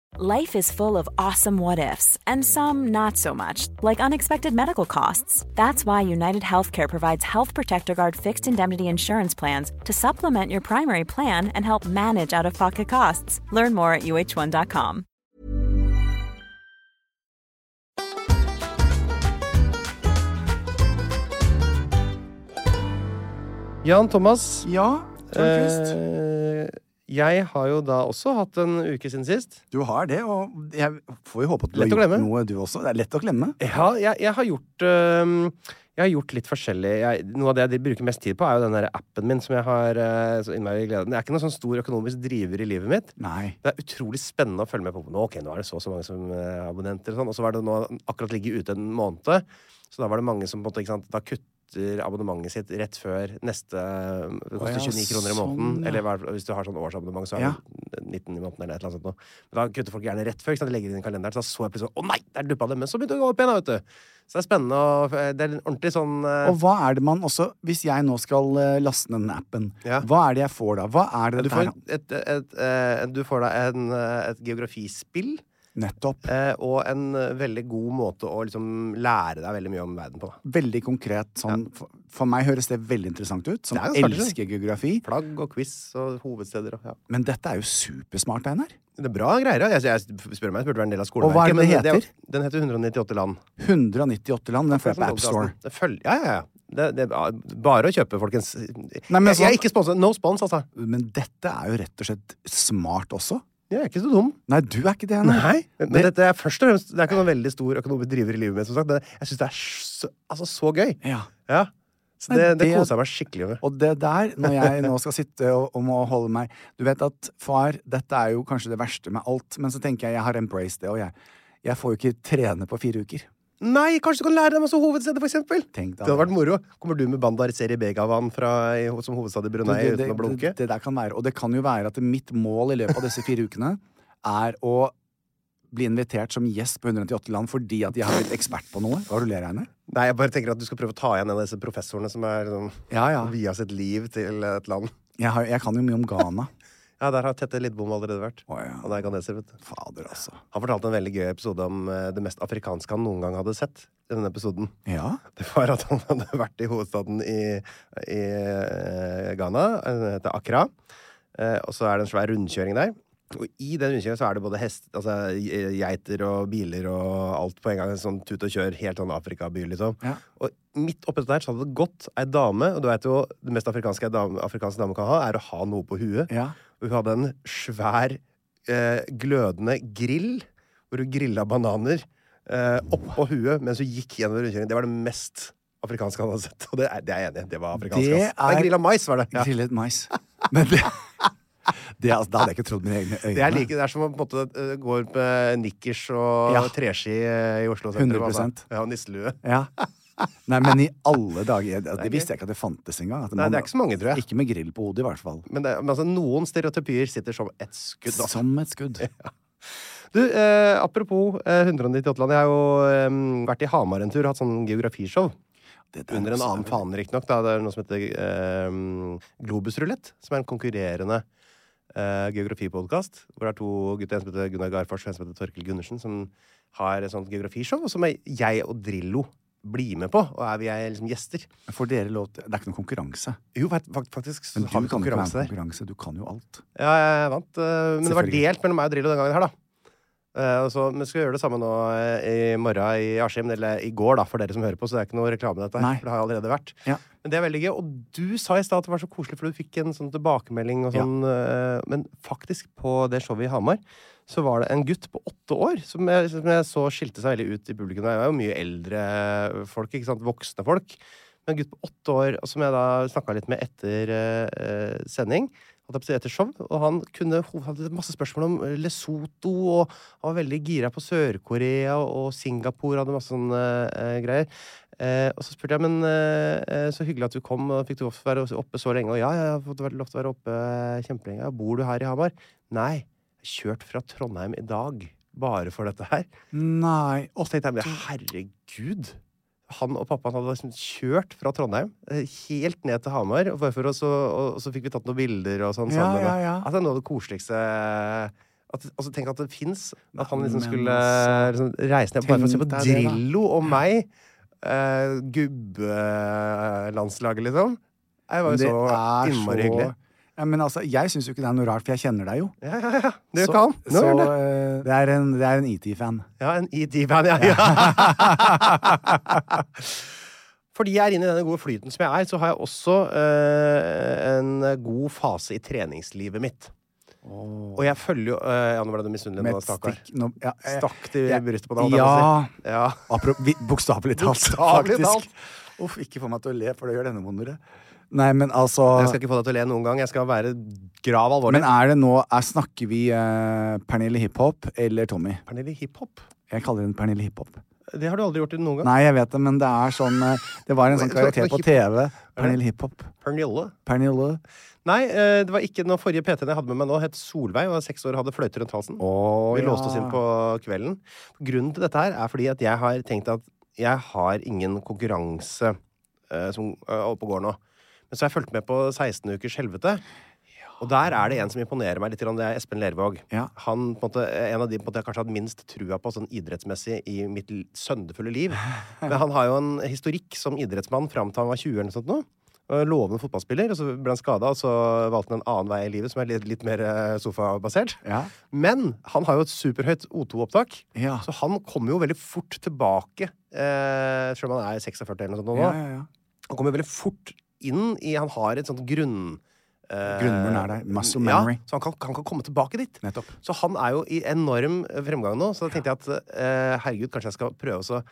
Speaker 3: Life is full of awesome what ifs and some not so much, like unexpected medical costs. That's why United Healthcare provides Health Protector Guard fixed indemnity insurance plans to supplement your primary plan and help manage out of pocket costs. Learn more at uh1.com.
Speaker 1: Jan Thomas,
Speaker 2: Ja, Tornquist.
Speaker 1: eh, jeg har jo da også hatt en uke siden sist.
Speaker 2: Du har det, og jeg får jo håpe at du
Speaker 1: Lett å
Speaker 2: har gjort
Speaker 1: glemme.
Speaker 2: noe, du også. Det er lett å glemme.
Speaker 1: Ja, jeg, jeg har gjort eh, jeg har gjort litt forskjellig. Jeg, noe av det jeg bruker mest tid på, er jo den der appen min. som jeg har eh, så innmari glede. av. Det er ikke noen sånn stor økonomisk driver i livet mitt.
Speaker 2: Nei.
Speaker 1: Det er utrolig spennende å følge med på. Nå, ok, nå er det så og så mange som eh, er abonnenter, og sånn. Og så var det nå akkurat ligget ute en måned. Så da var det mange som på en måte, ikke sant, da kutter abonnementet sitt rett før neste Det
Speaker 2: Å ja,
Speaker 1: koster 29 kroner i
Speaker 2: sånn,
Speaker 1: måneden.
Speaker 2: ja.
Speaker 1: Eller hva er det- hvis du har sånn årsabonnement, så er
Speaker 2: Ja.
Speaker 1: det 19 i måneden eller et eller annet sånt noe. Men da kutter folk gjerne rett før, ikke sant? de legger det inn i kalenderen, så da så jeg plutselig sånn, å nei, der duppa det, men så begynte det å gå opp igjen, da, vet du. Så det er spennende, og eh, det er en ordentlig sånn eh,
Speaker 2: Og hva er det man også Hvis jeg nå skal eh, laste ned den appen,
Speaker 1: Ja.
Speaker 2: hva er det jeg får da? Hva er det
Speaker 1: du
Speaker 2: dette
Speaker 1: får,
Speaker 2: her?
Speaker 1: et, et, et, eh, du får da en, eh, et geografispill,
Speaker 2: Nettopp.
Speaker 1: eh, og en eh, veldig god måte å liksom lære deg veldig mye om verden på, da.
Speaker 2: Veldig konkret. Sånn, for, for meg høres det veldig interessant ut, som
Speaker 1: Det er jo smart,
Speaker 2: elsker geografi.
Speaker 1: Flagg og quiz og hovedsteder og ja.
Speaker 2: Men dette er jo supersmart, Einar.
Speaker 1: Det er bra greier. ja. Jeg, jeg spør meg, jeg spurte hva en del av skoleverket
Speaker 2: Og hva er det
Speaker 1: men
Speaker 2: det
Speaker 1: er jo-
Speaker 2: heter?
Speaker 1: Den heter 198 land.
Speaker 2: 198 land. Den får jeg på AppStore.
Speaker 1: Det følger, ja, ja, ja. Det, det, ja, bare å kjøpe, folkens.
Speaker 2: men
Speaker 1: jeg, jeg
Speaker 2: sånn-
Speaker 1: er ikke sponset. No spons, altså.
Speaker 2: Men dette er jo rett og slett smart også.
Speaker 1: Jeg er ikke så dum.
Speaker 2: Nei, du er ikke det, Einar.
Speaker 1: Men dette er først og fremst Det er ikke noen veldig stor økonomisk driver i livet mitt, som sagt, men jeg syns det er så, altså, så gøy.
Speaker 2: Ja.
Speaker 1: Ja. Så
Speaker 2: Nei,
Speaker 1: det, det
Speaker 2: det-
Speaker 1: koser jeg meg skikkelig med.
Speaker 2: Og det der, når jeg nå skal sitte og, og må holde meg Du vet at far, dette er jo kanskje det verste med alt, men så tenker jeg jeg har embraced det, og jeg, jeg får jo ikke trene på fire uker.
Speaker 1: Nei, kanskje du kan lære deg masse hovedsteder, for eksempel.
Speaker 2: Tenk
Speaker 1: det
Speaker 2: deg
Speaker 1: hadde
Speaker 2: det.
Speaker 1: vært moro. Kommer du med Bandar Seri Begawan fra, i, som hovedstad i Brunei
Speaker 2: det,
Speaker 1: uten å
Speaker 2: det,
Speaker 1: blunke?
Speaker 2: det, det der kan være. Og det kan jo være at mitt mål i løpet av disse fire ukene er å bli invitert som gjest på 198 land fordi at jeg har blitt ekspert på noe. Hva er det du ler av, Einar?
Speaker 1: Nei, jeg bare tenker at du skal prøve å ta igjen en av disse professorene som er liksom,
Speaker 2: Ja, ja.
Speaker 1: via sitt liv til et land.
Speaker 2: Jeg, har- jeg kan jo mye om Ghana.
Speaker 1: Ja, der har Tette Lidbom allerede vært.
Speaker 2: Å, ja.
Speaker 1: Han er ganeser, vet du.
Speaker 2: Fader, altså.
Speaker 1: Han fortalte en veldig gøy episode om eh, det mest afrikanske han noen gang hadde sett. i Denne episoden.
Speaker 2: Ja.
Speaker 1: Det var at han hadde vært i hovedstaden i, i eh, Ghana, den heter Accra. Eh, og så er det en svær rundkjøring der. Og i den rundkjøringen så er det både hest, altså, ge- geiter og biler og alt på en gang. Sånn tut og kjør, helt sånn Afrikaby, liksom.
Speaker 2: Ja.
Speaker 1: Og midt oppi der så hadde det gått ei dame, og du vet jo det mest afrikanske ei dame, afrikanske dame kan ha, er å ha noe på huet.
Speaker 2: Ja.
Speaker 1: Og hun hadde en svær, eh, glødende grill, hvor hun grilla bananer eh, oppå huet mens hun gikk gjennom rundkjøringen. Det var det mest afrikanske han hadde sett. Og det er, det er jeg enig i. Det var afrikansk.
Speaker 2: Det
Speaker 1: ass. Nei,
Speaker 2: er-
Speaker 1: grilla mais, var det. Ja.
Speaker 2: Grillet mais. Men det, det altså, Da hadde jeg ikke trodd mine egne øyne.
Speaker 1: Det er, like, det er som å på en måte eh, gå med nikkers og
Speaker 2: Ja.
Speaker 1: treski eh, i Oslo sentrum.
Speaker 2: 100%.
Speaker 1: Ja, og nisselue.
Speaker 2: Ja. Nei, men i alle dager Det, det visste jeg ikke at det fantes engang. at
Speaker 1: Nei, det er ikke så mange, tror jeg.
Speaker 2: Ikke med grill på hodet, i hvert fall.
Speaker 1: Men, det, men altså, noen stereotypier sitter som et skudd. Altså.
Speaker 2: Som et skudd.
Speaker 1: Du, eh, apropos eh, 198 land. Jeg har jo eh, vært i Hamar en tur, hatt sånn geografishow.
Speaker 2: Det der altså.
Speaker 1: Under en
Speaker 2: også er
Speaker 1: annen
Speaker 2: vel-
Speaker 1: fane, riktignok. da. Det er noe som heter eh, Globusrulett, som er en konkurrerende eh, geografipodkast. Hvor det er to gutter, en som heter Gunnar Garfors og en som heter Torkel Gundersen, som har et sånt geografishow, og som er jeg og Drillo blir med på. Og er vi er liksom gjester.
Speaker 2: Får dere lov til Det er ikke noen konkurranse.
Speaker 1: Jo, fakt- fakt- faktisk så
Speaker 2: Men du
Speaker 1: har vi
Speaker 2: kan jo ikke være med
Speaker 1: konkurranse
Speaker 2: på
Speaker 1: der.
Speaker 2: konkurranse. Du kan jo alt.
Speaker 1: Ja, jeg vant. eh, men det var
Speaker 2: Selvfølgelig.
Speaker 1: delt mellom meg og Drillo den gangen her, da. Eh, og så, men skal vi gjøre det samme nå eh, i morgen i Askim, eller i går, da, for dere som hører på. Så det er ikke noe reklame, dette. her,
Speaker 2: Nei.
Speaker 1: For det har jeg allerede vært.
Speaker 2: Ja.
Speaker 1: Men det er veldig gøy. Og du sa i stad at det var så koselig, for du fikk en sånn tilbakemelding og sånn. eh, men faktisk, på det showet i Hamar, så var det en gutt på åtte år som jeg, som jeg så skilte seg veldig ut i publikum. Det var jo mye eldre folk, ikke sant. Voksne folk. Men en gutt på åtte år og som jeg da snakka litt med etter eh, eh, sending. holdt jeg på å si, Etter show, og han kunne, han hadde masse spørsmål om eh, Lesotho, og han var veldig gira på Sør-Korea og Singapore. Hadde masse sånne eh, greier. Eh, og så spurte jeg men eh, eh, så hyggelig at du kom. og Fikk du lov til å være oppe så lenge? Og ja, jeg har fått vært- lov til å være oppe eh, kjempelenge. Ja, Bor du her i Hamar? Nei. jeg har Kjørt fra Trondheim i dag bare for dette her.
Speaker 2: Nei
Speaker 1: Og så tenkte jeg men herregud. Han og pappaen hadde liksom kjørt fra Trondheim eh, helt ned til Hamar. Og, bare for å så- og, og så fikk vi tatt noen bilder og sånn
Speaker 2: Ja,
Speaker 1: sammen.
Speaker 2: ja, ja.
Speaker 1: Altså, det er noe av det koseligste at, altså, Tenk at det fins. At han liksom
Speaker 2: Men
Speaker 1: skulle
Speaker 2: altså,
Speaker 1: liksom, reise ned bare for å se på
Speaker 2: tenk deg det, da.
Speaker 1: Drillo og meg. Eh, Gubbelandslaget, liksom. Det var jo
Speaker 2: det
Speaker 1: så
Speaker 2: er
Speaker 1: innmari hyggelig.
Speaker 2: Ja, men altså, jeg syns jo ikke det er noe rart, for jeg kjenner deg jo.
Speaker 1: Ja, ja, ja. Det
Speaker 2: Så-
Speaker 1: gjør ikke han. Nå
Speaker 2: så,
Speaker 1: gjør han det.
Speaker 2: eh, det er en, det er en ET-fan.
Speaker 1: Ja, en ED-band, ja. ja. Fordi jeg er inne i denne gode flyten som jeg er, så har jeg også eh, en god fase i treningslivet mitt. Og jeg følger jo eh, Ja, nå ble du misunnelig.
Speaker 2: Med
Speaker 1: nå,
Speaker 2: et
Speaker 1: stakkar.
Speaker 2: stikk nå- ja, eh,
Speaker 1: Stakk til
Speaker 2: jeg-
Speaker 1: brystet på deg, holdt jeg
Speaker 2: Ja. Ah.
Speaker 1: på å si. Ja.
Speaker 2: Apro- vi- Bokstavelig talt,
Speaker 1: Bokstavelig talt.
Speaker 2: faktisk. Uff, ikke få meg til å le, for det gjør denne vondere. Nei, men altså
Speaker 1: Jeg skal ikke få deg til å le noen gang. Jeg skal være grav alvorlig.
Speaker 2: Men er det nå er, Snakker vi eh, Pernille Hiphop eller Tommy?
Speaker 1: Pernille hiphop?
Speaker 2: Jeg kaller henne Pernille Hiphop.
Speaker 1: Det har du aldri gjort i noen gang.
Speaker 2: Nei, jeg vet det, men det er sånn eh, Det var en sånn
Speaker 1: Men, så-
Speaker 2: karakter
Speaker 1: så
Speaker 2: på
Speaker 1: hip-
Speaker 2: TV. Pernille Hiphop.
Speaker 1: Pernille.
Speaker 2: Pernille
Speaker 1: Nei, eh, det var ikke den forrige PT-en jeg hadde med meg nå, het Solveig, og var seks år og hadde fløyte rundt halsen. vi
Speaker 2: ja.
Speaker 1: låste oss inn på kvelden. Grunnen til dette her er fordi at jeg har tenkt at jeg har ingen konkurranse eh, som eh, oppe og går nå. Men så har jeg fulgt med på 16 ukers helvete. Og der er det en som imponerer meg litt, grann, det er Espen Lervåg.
Speaker 2: Ja.
Speaker 1: Han på en, måte, en av de på en måte, jeg kanskje har hatt minst trua på sånn idrettsmessig i mitt l- søndefulle liv. Men han har jo en historikk som idrettsmann fram til han var 20 eller noe sånt. nå. Og Lovende fotballspiller, og så ble han skada, og så valgte han en annen vei i livet som er litt, litt mer eh, sofabasert.
Speaker 2: Ja.
Speaker 1: Men han har jo et superhøyt O2-opptak,
Speaker 2: Ja.
Speaker 1: så han kommer jo veldig fort tilbake. Eh, selv om han er 46 eller noe sånt nå.
Speaker 2: Ja, ja, ja.
Speaker 1: Han kommer veldig fort inn i Han har et sånt grunn... eh,
Speaker 2: Grunnmuren er der. Muscle memory.
Speaker 1: Ja, så han kan, han kan komme tilbake dit.
Speaker 2: Nettopp.
Speaker 1: Så han er jo i enorm fremgang nå, så da tenkte jeg at eh, herregud, kanskje jeg skal prøve å eh,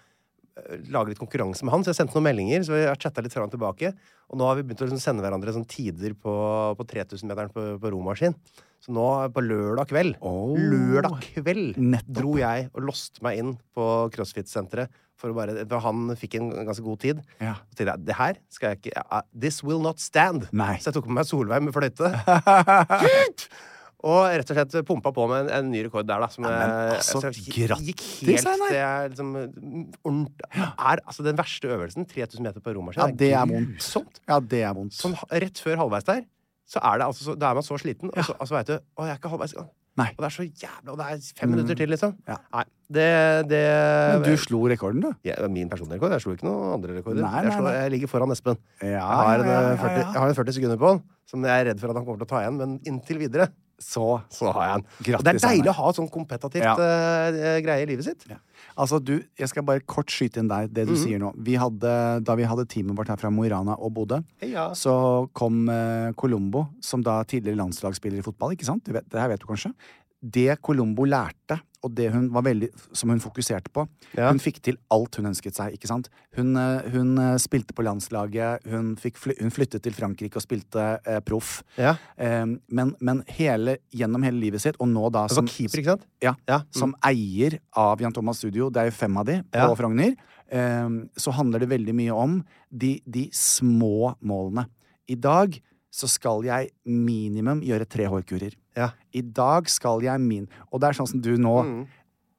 Speaker 1: lage litt konkurranse med han. Så jeg sendte noen meldinger, så vi har chatta litt fram og tilbake. Og nå har vi begynt å liksom sende hverandre sånn tider på, på 3000-meteren på, på romaskin. Så nå eh, på lørdag kveld
Speaker 2: Oh.
Speaker 1: Lørdag kveld
Speaker 2: Nettopp.
Speaker 1: dro jeg og loste meg inn på CrossFit-senteret. For å bare, for han fikk en ganske god tid.
Speaker 2: Ja.
Speaker 1: Så tenkte jeg, det her skal jeg ikke ja, This will not stand.
Speaker 2: Nei.
Speaker 1: Så jeg tok med meg Solveig med fløyte. og rett og slett pumpa på med en, en ny rekord der, da. Som jeg-
Speaker 2: altså,
Speaker 1: så jeg gikk- gikk
Speaker 2: grattis,
Speaker 1: helt
Speaker 2: Einar.
Speaker 1: til jeg liksom ordent- er, altså, Den verste øvelsen, 3000 meter på romaskin,
Speaker 2: Ja, det er vondt.
Speaker 1: grusomt.
Speaker 2: Ja, det er vondt.
Speaker 1: Sånn, rett før halvveis der, så er, det, altså, så, da er man så sliten, og så, og så veit du Å, jeg er ikke halvveis. engang."
Speaker 2: Nei.
Speaker 1: Og det er så jævla Og det er fem minutter til, liksom.
Speaker 2: Mm. Ja.
Speaker 1: Nei, det, det
Speaker 2: Men du slo rekorden, du.
Speaker 1: ja, min personlige rekord. Jeg slo ikke noen andre rekorder.
Speaker 2: Nei,
Speaker 1: jeg,
Speaker 2: nei,
Speaker 1: slo,
Speaker 2: nei.
Speaker 1: jeg ligger foran Espen.
Speaker 2: Ja,
Speaker 1: jeg, har en,
Speaker 2: ja, ja,
Speaker 1: eh, 40,
Speaker 2: ja, ja.
Speaker 1: jeg har en 40 sekunder på han, som jeg er redd for at han kommer til å ta igjen. Men inntil videre så, så har jeg han. Og det er
Speaker 2: Grattis,
Speaker 1: deilig
Speaker 2: Einar.
Speaker 1: å ha sånn kompetativt
Speaker 2: Ja.
Speaker 1: eh, greie i livet sitt.
Speaker 2: Altså, du, jeg skal bare kort skyte inn deg, det
Speaker 1: Mhm.
Speaker 2: du sier nå. Vi hadde, da vi hadde teamet vårt her fra Mo i Rana og Bodø,
Speaker 1: Ja.
Speaker 2: så kom eh, Colombo, som da tidligere landslagsspiller i fotball, ikke sant? Du vet, det her vet du kanskje. Det Colombo lærte, og det hun var veldig, som hun fokuserte på,
Speaker 1: Ja.
Speaker 2: hun fikk til alt hun ønsket seg, ikke sant? Hun, eh, hun eh, spilte på landslaget, hun, fikk fly, hun flyttet til Frankrike og spilte eh, proff.
Speaker 1: Ja.
Speaker 2: Eh, men men hele, gjennom hele livet sitt, og nå da
Speaker 1: Han var keeper, ikke sant?
Speaker 2: Altså, ja,
Speaker 1: Ja, Mm.
Speaker 2: som eier av Jan Thomas Studio, det er jo fem av de på
Speaker 1: Ja.
Speaker 2: Frogner, ehm, så handler det veldig mye om de, de små målene. I dag så skal jeg minimum gjøre tre hårkurer.
Speaker 1: Ja. Mm.
Speaker 2: I dag skal jeg min Og det er sånn som du nå.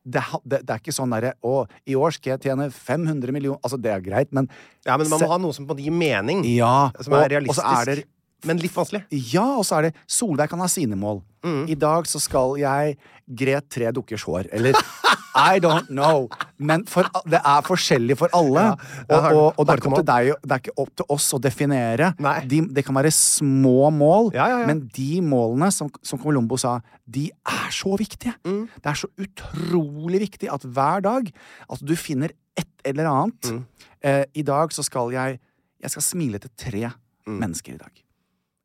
Speaker 2: Det, ha- det, det er ikke sånn derre Å, i år skal jeg tjene 500 millioner Altså, det er greit, men
Speaker 1: ja, men man
Speaker 2: Se-
Speaker 1: må ha noe som på en måte gir mening.
Speaker 2: Ja,
Speaker 1: Som er
Speaker 2: og- og så
Speaker 1: realistisk.
Speaker 2: er det-
Speaker 1: Men litt vanskelig.
Speaker 2: Ja, og så er det Solveig kan ha sine mål.
Speaker 1: Mm.
Speaker 2: I dag så skal jeg gre tre dukkers hår. Eller I don't know. Men for, det er forskjellig for alle.
Speaker 1: det
Speaker 2: og,
Speaker 1: har-
Speaker 2: og, og det, er
Speaker 1: harde
Speaker 2: ikke opp til deg, det er ikke opp til oss å definere.
Speaker 1: Nei.
Speaker 2: De, det kan være små mål,
Speaker 1: Ja, ja, ja.
Speaker 2: men de målene, som, som Colombo sa, de er så viktige.
Speaker 1: Mm.
Speaker 2: Det er så utrolig viktig at hver dag at du finner et eller annet.
Speaker 1: Mm.
Speaker 2: Eh, I dag så skal jeg Jeg skal smile til tre
Speaker 1: Mm.
Speaker 2: mennesker i dag.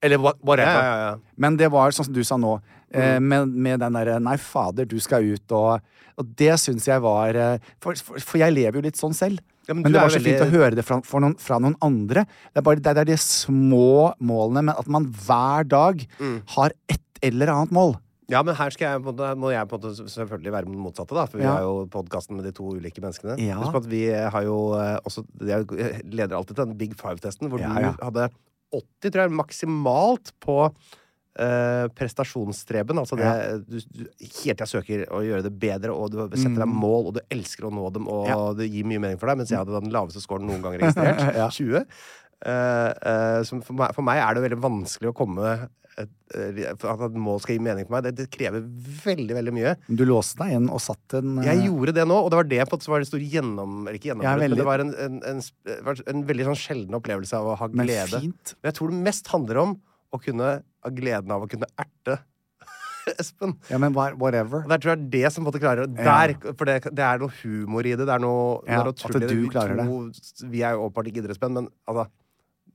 Speaker 2: Eller hva- whatever.
Speaker 1: Ja, ja, ja.
Speaker 2: Men det var sånn som du sa nå, eh,
Speaker 1: Mm.
Speaker 2: med, med den derre 'nei, fader, du skal ut' og Og det syns jeg var eh, for, for, for jeg lever jo litt sånn selv.
Speaker 1: Ja, men
Speaker 2: men
Speaker 1: du
Speaker 2: det
Speaker 1: er
Speaker 2: var så
Speaker 1: veldig-
Speaker 2: fint å høre det fra, for noen, fra noen andre. Det er bare det, det er de små målene, men at man hver dag
Speaker 1: Mm.
Speaker 2: har et eller annet mål.
Speaker 1: Ja, men her skal jeg, på en måte- må jeg på en måte selvfølgelig være den motsatte, da. For vi
Speaker 2: Ja.
Speaker 1: har jo podkasten med de to ulike menneskene.
Speaker 2: Ja.
Speaker 1: Husk på at vi har jo eh, også Jeg leder alltid til den Big Five-testen, hvor
Speaker 2: Ja,
Speaker 1: du
Speaker 2: ja.
Speaker 1: hadde 80, tror jeg, maksimalt på eh, prestasjonsstreben. Altså det du, du helt til jeg søker å gjøre det bedre, og du setter deg mål, og du elsker å nå dem, og
Speaker 2: Mm. Ja. Mm.
Speaker 1: det gir mye mening for deg. Mens jeg hadde den laveste scoren noen gang registrert. 20. Eh, eh, som for, meg, for meg er det veldig vanskelig å komme et, eh, for At et mål skal gi mening for meg. Det, det krever veldig, veldig mye.
Speaker 2: Du låste deg inn og satte en eh,
Speaker 1: Jeg gjorde det nå, og det var det på at det var en stor gjennom... Eller ikke
Speaker 2: Jeg
Speaker 1: gjennombrudd,
Speaker 2: er
Speaker 1: men
Speaker 2: veldig-
Speaker 1: det var en, en, en, sp- det var en veldig sånn sjelden opplevelse av å ha
Speaker 2: Men
Speaker 1: glede.
Speaker 2: fint.
Speaker 1: Men jeg tror det mest handler om å kunne ha gleden av å kunne erte Espen.
Speaker 2: Ja, men hva- whatever.
Speaker 1: Og der tror jeg det er det som på en måte klarer å-
Speaker 2: Ja.
Speaker 1: der, For det, det er noe humor i det. Det er noe, det
Speaker 2: Ja,
Speaker 1: er noe
Speaker 2: at
Speaker 1: tull i det.
Speaker 2: du
Speaker 1: Vi
Speaker 2: klarer det.
Speaker 1: to- Vi er jo åpenbart ikke idrettsmenn, men altså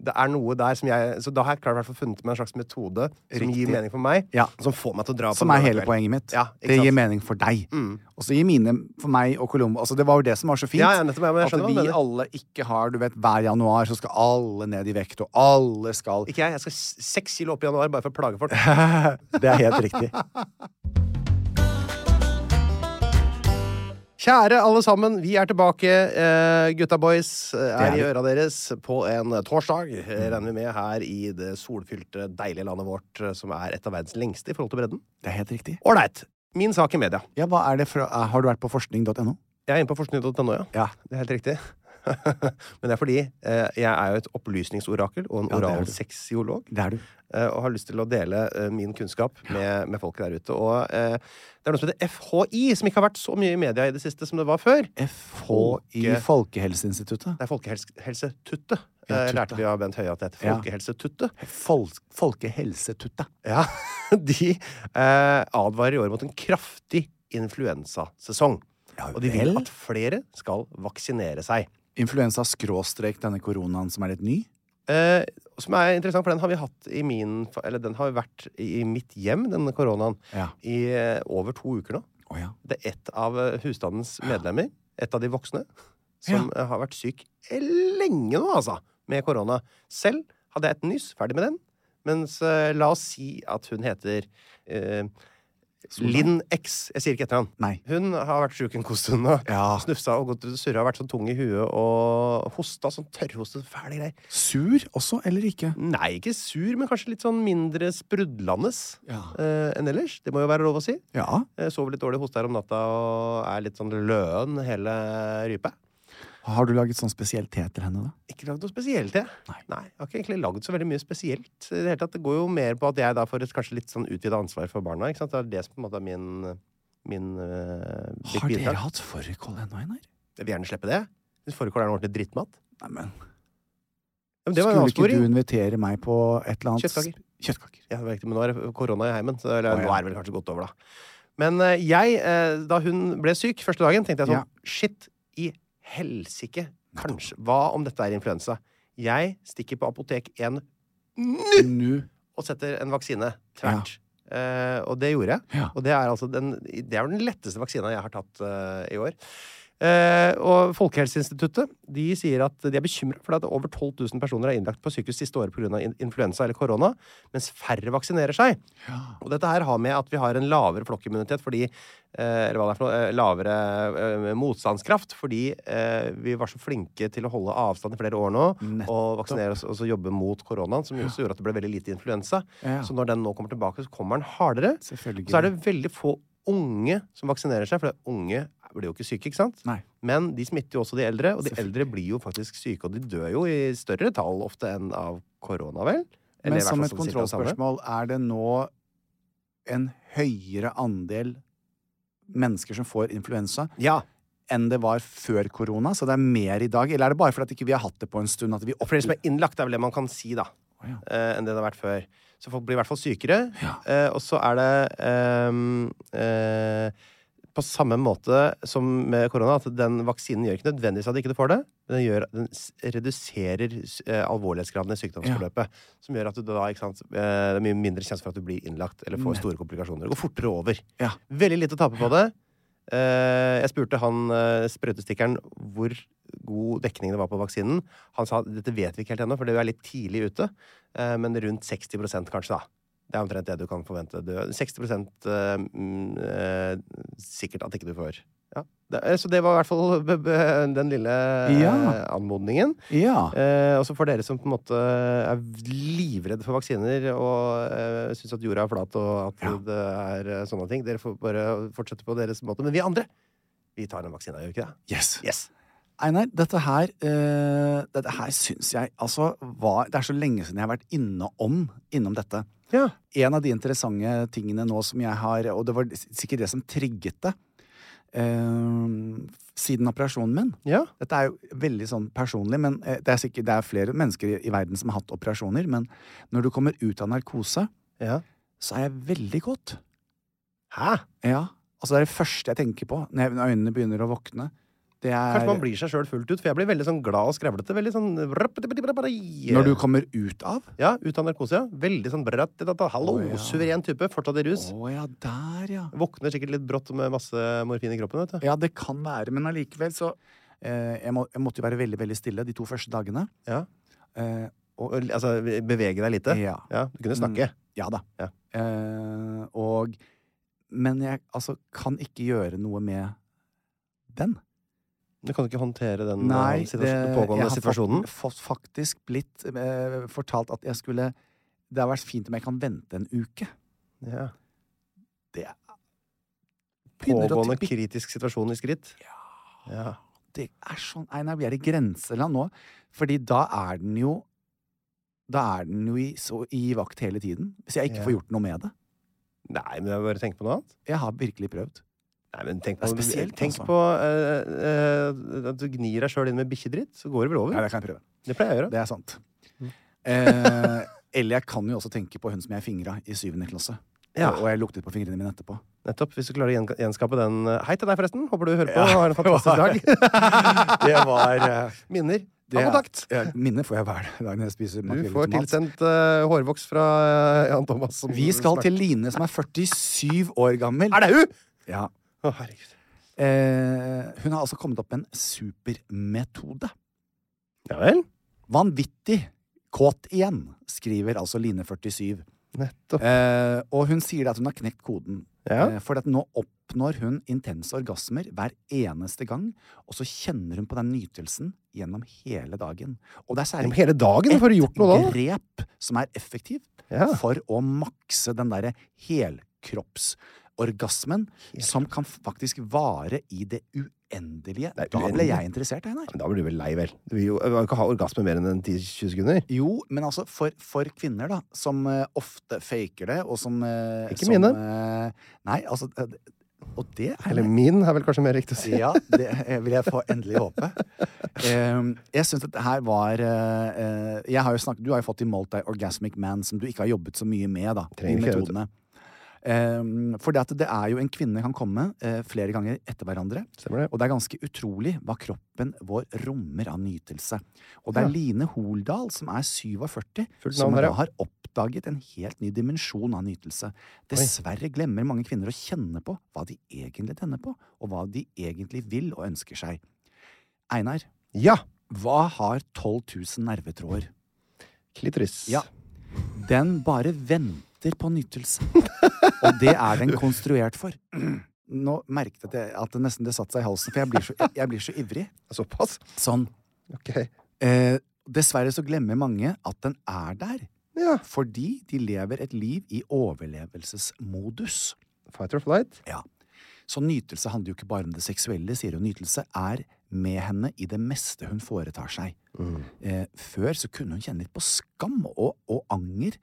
Speaker 1: det er noe der som jeg Så da har jeg klart i hvert fall funnet meg en slags metode som
Speaker 2: Riktig.
Speaker 1: gir mening for meg,
Speaker 2: Ja.
Speaker 1: som får meg til å dra på
Speaker 2: Som
Speaker 1: en
Speaker 2: er hele
Speaker 1: lørdagskveld.
Speaker 2: poenget mitt.
Speaker 1: Ja, ikke
Speaker 2: det gir
Speaker 1: sant? Mm.
Speaker 2: mening for deg. Og så gir mine for meg og Colombo altså Det var jo det som var så fint.
Speaker 1: Ja, ja, nettopp, ja, men jeg
Speaker 2: at
Speaker 1: skjønner hva
Speaker 2: vi
Speaker 1: du mener.
Speaker 2: alle ikke har Du vet, hver januar så skal alle ned i vekt, og alle skal
Speaker 1: Ikke jeg. Jeg skal s- seks kilo opp i januar bare for å plage folk.
Speaker 2: Det er helt riktig.
Speaker 1: Kjære alle sammen, vi er tilbake. Eh, gutta boys eh, er
Speaker 2: Det er
Speaker 1: i
Speaker 2: vi.
Speaker 1: øra deres på en torsdag, eh, regner vi med, her i det solfylte, deilige landet vårt, eh, som er et av verdens lengste i forhold til bredden.
Speaker 2: Det er helt riktig.
Speaker 1: Ålreit. Min sak i media.
Speaker 2: Ja, hva er det fra, eh, Har du vært på forskning.no?
Speaker 1: Jeg er inne på forskning.no, ja.
Speaker 2: Ja.
Speaker 1: Det er helt riktig. Men det er fordi eh, jeg er jo et opplysningsorakel og en
Speaker 2: Ja, det er du.
Speaker 1: oralsexiolog.
Speaker 2: Det er du.
Speaker 1: eh, og har lyst til å dele eh, min kunnskap med, med folket der ute. Og eh, det er noe som heter FHI, som ikke har vært så mye i media i det siste som det var før. Folke-
Speaker 2: FHI, Folkehelseinstituttet.
Speaker 1: Det er Folkehelsetuttet.
Speaker 2: Ja,
Speaker 1: Eh,
Speaker 2: tuttet.
Speaker 1: lærte vi av Bent Høie at det heter
Speaker 2: Ja.
Speaker 1: Folkehelsetuttet.
Speaker 2: Folk, Folkehelsetuttet.
Speaker 1: Ja, De eh, advarer i år mot en kraftig influensasesong.
Speaker 2: Ja
Speaker 1: Og de vil
Speaker 2: vel.
Speaker 1: at flere skal vaksinere seg.
Speaker 2: Influensa skråstrek denne koronaen som er litt ny.
Speaker 1: Eh, som er interessant, for den har vi hatt i min fa- Eller den har jo vært i i mitt hjem, denne koronaen,
Speaker 2: Ja.
Speaker 1: i eh, over to uker nå.
Speaker 2: Å ja.
Speaker 1: Det er ett av eh, husstandens medlemmer, et av de voksne, som eh, har vært syk lenge nå, altså, med korona. Selv hadde jeg et nyss, ferdig med den. Mens eh, la oss si at hun heter eh,
Speaker 2: Solveig?
Speaker 1: Linn X. Jeg sier ikke etternavn.
Speaker 2: Nei.
Speaker 1: Hun har vært sjuk en god stund nå.
Speaker 2: Ja.
Speaker 1: Snufsa og gått ut og surra, vært sånn tung i huet og hosta sånn tørrhostet, fæle greier.
Speaker 2: Sur også, eller ikke?
Speaker 1: Nei, ikke sur, men kanskje litt sånn mindre sprudlende
Speaker 2: Ja.
Speaker 1: eh, enn ellers. Det må jo være lov å si.
Speaker 2: Ja.
Speaker 1: Jeg Eh, sover litt dårlig, hoster om natta og er litt sånn løen hele rype.
Speaker 2: Har du laget sånn spesiell te til henne, da?
Speaker 1: Ikke lagd noe spesielt, jeg.
Speaker 2: Nei.
Speaker 1: jeg har ikke egentlig lagd så veldig mye spesielt. I Det hele tatt, det går jo mer på at jeg da får et kanskje litt sånn utvida ansvar for barna. ikke sant? Det er det som på en måte er min, min eh, big
Speaker 2: Har dere
Speaker 1: bidrag.
Speaker 2: hatt fårikål ennå, Einar?
Speaker 1: Jeg vil gjerne slippe det. Hvis fårikål er en ordentlig drittmat.
Speaker 2: Neimen,
Speaker 1: Ja, men det var en
Speaker 2: skulle ikke du
Speaker 1: avsporing.
Speaker 2: invitere meg på et eller annet
Speaker 1: Kjøttkaker.
Speaker 2: Kjøttkaker.
Speaker 1: Ja, det var riktig, men nå er det korona i heimen, så eller,
Speaker 2: Å, ja.
Speaker 1: nå er det vel kanskje gått over, da. Men eh, jeg, eh, da hun ble syk første dagen, tenkte jeg sånn
Speaker 2: Ja.
Speaker 1: Shit i helsike! Kanskje. Hva om dette er influensa? Jeg stikker på apotek 1 nå
Speaker 2: Nu.
Speaker 1: og setter en vaksine tvert. Eh, og det gjorde jeg.
Speaker 2: Ja.
Speaker 1: Og det er altså den, det er den letteste vaksina jeg har tatt eh, i år. Eh, og Folkehelseinstituttet de sier at de er bekymra for at over 12 000 personer er innlagt på sykehus siste året pga. In influensa eller korona, mens færre vaksinerer seg. Og dette her har med at vi har en lavere flokkimmunitet fordi eh, Eller hva det er for noe. eh, Lavere eh, motstandskraft fordi eh, vi var så flinke til å holde avstand i flere år nå og vaksinere oss og så jobbe mot koronaen, som jo også gjorde at det ble veldig lite influensa.
Speaker 2: Ja.
Speaker 1: Så når den nå kommer tilbake, så kommer den hardere.
Speaker 2: Selvfølgelig.
Speaker 1: Så er det veldig få unge som vaksinerer seg, for det er unge blir jo ikke syke, ikke sant?
Speaker 2: Nei.
Speaker 1: Men de smitter jo også de eldre, og de eldre blir jo faktisk syke, og de dør jo i større tall ofte enn av korona, vel? Eller i
Speaker 2: Men
Speaker 1: hvert
Speaker 2: som
Speaker 1: fall sånn cirka det
Speaker 2: et
Speaker 1: samme.
Speaker 2: kontrollspørsmål, er det nå en høyere andel mennesker som får influensa
Speaker 1: Ja,
Speaker 2: enn det var før korona? Så det er mer i dag? Eller er det bare fordi at ikke vi har hatt det på en stund? At vi
Speaker 1: og flere som
Speaker 2: opplever
Speaker 1: er innlagt, er vel det man kan si, da,
Speaker 2: Å, ja.
Speaker 1: eh, enn det det har vært før. Så folk blir i hvert fall sykere.
Speaker 2: Ja.
Speaker 1: Eh, og så er det ehm, eh, på samme måte som med korona, at den vaksinen gjør ikke nødvendigvis at ikke du får det. men Den, gjør, den s- reduserer s- eh, alvorlighetsgraden i sykdomsforløpet. Som gjør at du da ikke sant, eh, det er mye mindre sjanse for at du blir innlagt eller får store komplikasjoner. Det går fortere over.
Speaker 2: Ja.
Speaker 1: Veldig lite å tape på det. Eh, jeg spurte han eh, sprøytestikkeren hvor god dekning det var på vaksinen. Han sa dette vet vi ikke helt ennå, for det er litt tidlig ute. Eh, men rundt 60 kanskje, da. Det er omtrent det du kan forvente. Du, 60 eh, mm, eh, sikkert at ikke du får. Ja. Det, eh, så det var i hvert fall b- b- den lille eh,
Speaker 2: Ja.
Speaker 1: anmodningen.
Speaker 2: Ja.
Speaker 1: Eh, og så for dere som på en måte er livredde for vaksiner og eh, syns at jorda er flat og at det er eh, sånne ting, dere får bare fortsette på deres måte. Men vi andre, vi tar den vaksina, gjør vi ikke det?
Speaker 2: Yes.
Speaker 1: Yes.
Speaker 2: Einar, dette her, eh, dette her syns jeg altså var Det er så lenge siden jeg har vært inne om, innom dette.
Speaker 1: Ja.
Speaker 2: En av de interessante tingene nå som jeg har Og det var s- sikkert det som trigget det. eh, siden operasjonen min.
Speaker 1: Ja.
Speaker 2: Dette er jo veldig sånn personlig, men eh, det, er sikkert, det er flere mennesker i, i verden som har hatt operasjoner. Men når du kommer ut av narkose,
Speaker 1: ja.
Speaker 2: så er jeg veldig godt.
Speaker 1: Hæ?
Speaker 2: Ja. Altså, det er det første jeg tenker på når jeg- når øynene begynner å våkne. Det er
Speaker 1: Kanskje man blir seg sjøl fullt ut, for jeg blir veldig sånn glad og skravlete. Veldig sånn Når
Speaker 2: Når
Speaker 1: eh,
Speaker 2: du kommer ut av
Speaker 1: Ja, ut av narkose, ja. Veldig sånn bratt, da, da, Hallo,
Speaker 2: Å, ja.
Speaker 1: suveren type. Fortsatt i rus.
Speaker 2: Å ja, der, ja.
Speaker 1: Våkner sikkert litt brått med masse morfin i kroppen, vet du.
Speaker 2: Ja, det kan være, men allikevel så eh, jeg, må, jeg måtte jo være veldig, veldig stille de to første dagene.
Speaker 1: Ja.
Speaker 2: Eh,
Speaker 1: Og, altså, bevege deg lite.
Speaker 2: ja.
Speaker 1: Ja, du kunne snakke.
Speaker 2: Ja da.
Speaker 1: Ja.
Speaker 2: Eh, og Men jeg altså kan ikke gjøre noe med den.
Speaker 1: Du kan ikke håndtere den
Speaker 2: Nei,
Speaker 1: eh, situasjon- pågående
Speaker 2: jeg har
Speaker 1: situasjonen.
Speaker 2: Fakt, fa- faktisk blitt eh, fortalt at jeg skulle Det har vært fint om jeg kan vente en uke.
Speaker 1: Ja.
Speaker 2: Det er- begynner å
Speaker 1: Pågående
Speaker 2: tippe-
Speaker 1: kritisk situasjon i skritt. Ja.
Speaker 2: Det er sånn Nei, nei, vi er i grenseland nå. Fordi da er den jo Da er den jo i, så, i vakt hele tiden. Hvis jeg ikke
Speaker 1: Ja.
Speaker 2: får gjort noe med det.
Speaker 1: Nei, men jeg bare tenk på noe annet.
Speaker 2: Jeg har virkelig prøvd.
Speaker 1: Nei, men tenk
Speaker 2: Det
Speaker 1: på,
Speaker 2: er spesielt,
Speaker 1: tenk
Speaker 2: altså.
Speaker 1: på eh, eh, at du gnir deg sjøl inn med bikkjedritt, så går det vel over.
Speaker 2: Ja, det kan jeg prøve.
Speaker 1: Det pleier jeg å gjøre.
Speaker 2: Det er sant.
Speaker 1: Mm.
Speaker 2: Eh, eller jeg kan jo også tenke på hun som jeg fingra i syvende klasse.
Speaker 1: Ja.
Speaker 2: Og jeg luktet på fingrene mine etterpå.
Speaker 1: Nettopp, Hvis du klarer å gjen- gjenskape den eh, Hei til deg, forresten. Håper du hører på og har en fantastisk dag.
Speaker 2: Det var eh,
Speaker 1: Minner.
Speaker 2: det
Speaker 1: Ta
Speaker 2: er-
Speaker 1: kontakt!
Speaker 2: Ja, minne får jeg hver dag når jeg spiser
Speaker 1: Du
Speaker 2: makrell i
Speaker 1: får
Speaker 2: tomat.
Speaker 1: tilsendt eh, hårvoks fra eh, Jan Thomas. som-
Speaker 2: Vi skal til Line, som er 47 år gammel.
Speaker 1: Er det hun?!
Speaker 2: Ja.
Speaker 1: Å, herregud.
Speaker 2: Eh, hun har altså kommet opp med en supermetode.
Speaker 1: Ja vel?
Speaker 2: Vanvittig kåt igjen, skriver altså Line 47.
Speaker 1: Nettopp.
Speaker 2: Eh, og hun sier at hun har knekt koden.
Speaker 1: Ja.
Speaker 2: Eh, for at nå oppnår hun intense orgasmer hver eneste gang, og så kjenner hun på den nytelsen gjennom hele dagen. Og det er
Speaker 1: Gjennom
Speaker 2: særlig
Speaker 1: hele dagen får du gjort noe da.
Speaker 2: grep som er effektivt
Speaker 1: Ja.
Speaker 2: for å makse den derre helkroppsorgasmen som kan faktisk vare i det uendelige.
Speaker 1: Det er
Speaker 2: da ble
Speaker 1: uendelig.
Speaker 2: jeg interessert, Einar.
Speaker 1: Men da blir du vel lei, vel? Du vil jo du vil ikke ha orgasme mer enn 10-20 sekunder.
Speaker 2: Jo, men altså for, for kvinner, da, som eh, ofte faker det, og som eh,
Speaker 1: Ikke
Speaker 2: som,
Speaker 1: mine.
Speaker 2: eh, nei, altså eh, Og det er
Speaker 1: Eller min, er vel kanskje mer riktig å si.
Speaker 2: Ja, det eh, vil jeg få endelig håpe. Em, jeg syns dette her var eh, eh, jeg har jo snakket, Du har jo fått i målt deg Orgasmic Man, som du ikke har jobbet så mye med. da, de
Speaker 1: Trenger ikke, vet du.
Speaker 2: metodene. Um, for det, at det er jo en kvinne kan komme eh, flere ganger etter hverandre.
Speaker 1: Stemmer det.
Speaker 2: Og det er ganske utrolig hva kroppen vår rommer av nytelse. Og det er Line Holdal, som er 47,
Speaker 1: Fullt
Speaker 2: som
Speaker 1: navn her,
Speaker 2: da
Speaker 1: ja.
Speaker 2: har oppdaget en helt ny dimensjon av nytelse. Dessverre glemmer mange kvinner å kjenne på hva de egentlig tenner på, og hva de egentlig vil og ønsker seg. Einar,
Speaker 1: Ja!
Speaker 2: hva har 12 000 nervetråder?
Speaker 1: Klitoris.
Speaker 2: Ja. Den bare venter på nytelse. Og det er den konstruert for. Nå merket jeg at jeg- at det nesten det satte seg i halsen, for jeg blir så, jeg, jeg blir så ivrig.
Speaker 1: Såpass?
Speaker 2: Sånn.
Speaker 1: Ok.
Speaker 2: Eh, dessverre så glemmer mange at den er der,
Speaker 1: Ja.
Speaker 2: fordi de lever et liv i overlevelsesmodus.
Speaker 1: Fight or flight.
Speaker 2: Ja. Så nytelse handler jo ikke bare om det seksuelle, sier hun. Nytelse er med henne i det meste hun foretar seg.
Speaker 1: Mm.
Speaker 2: Eh, før så kunne hun kjenne litt på skam og, og anger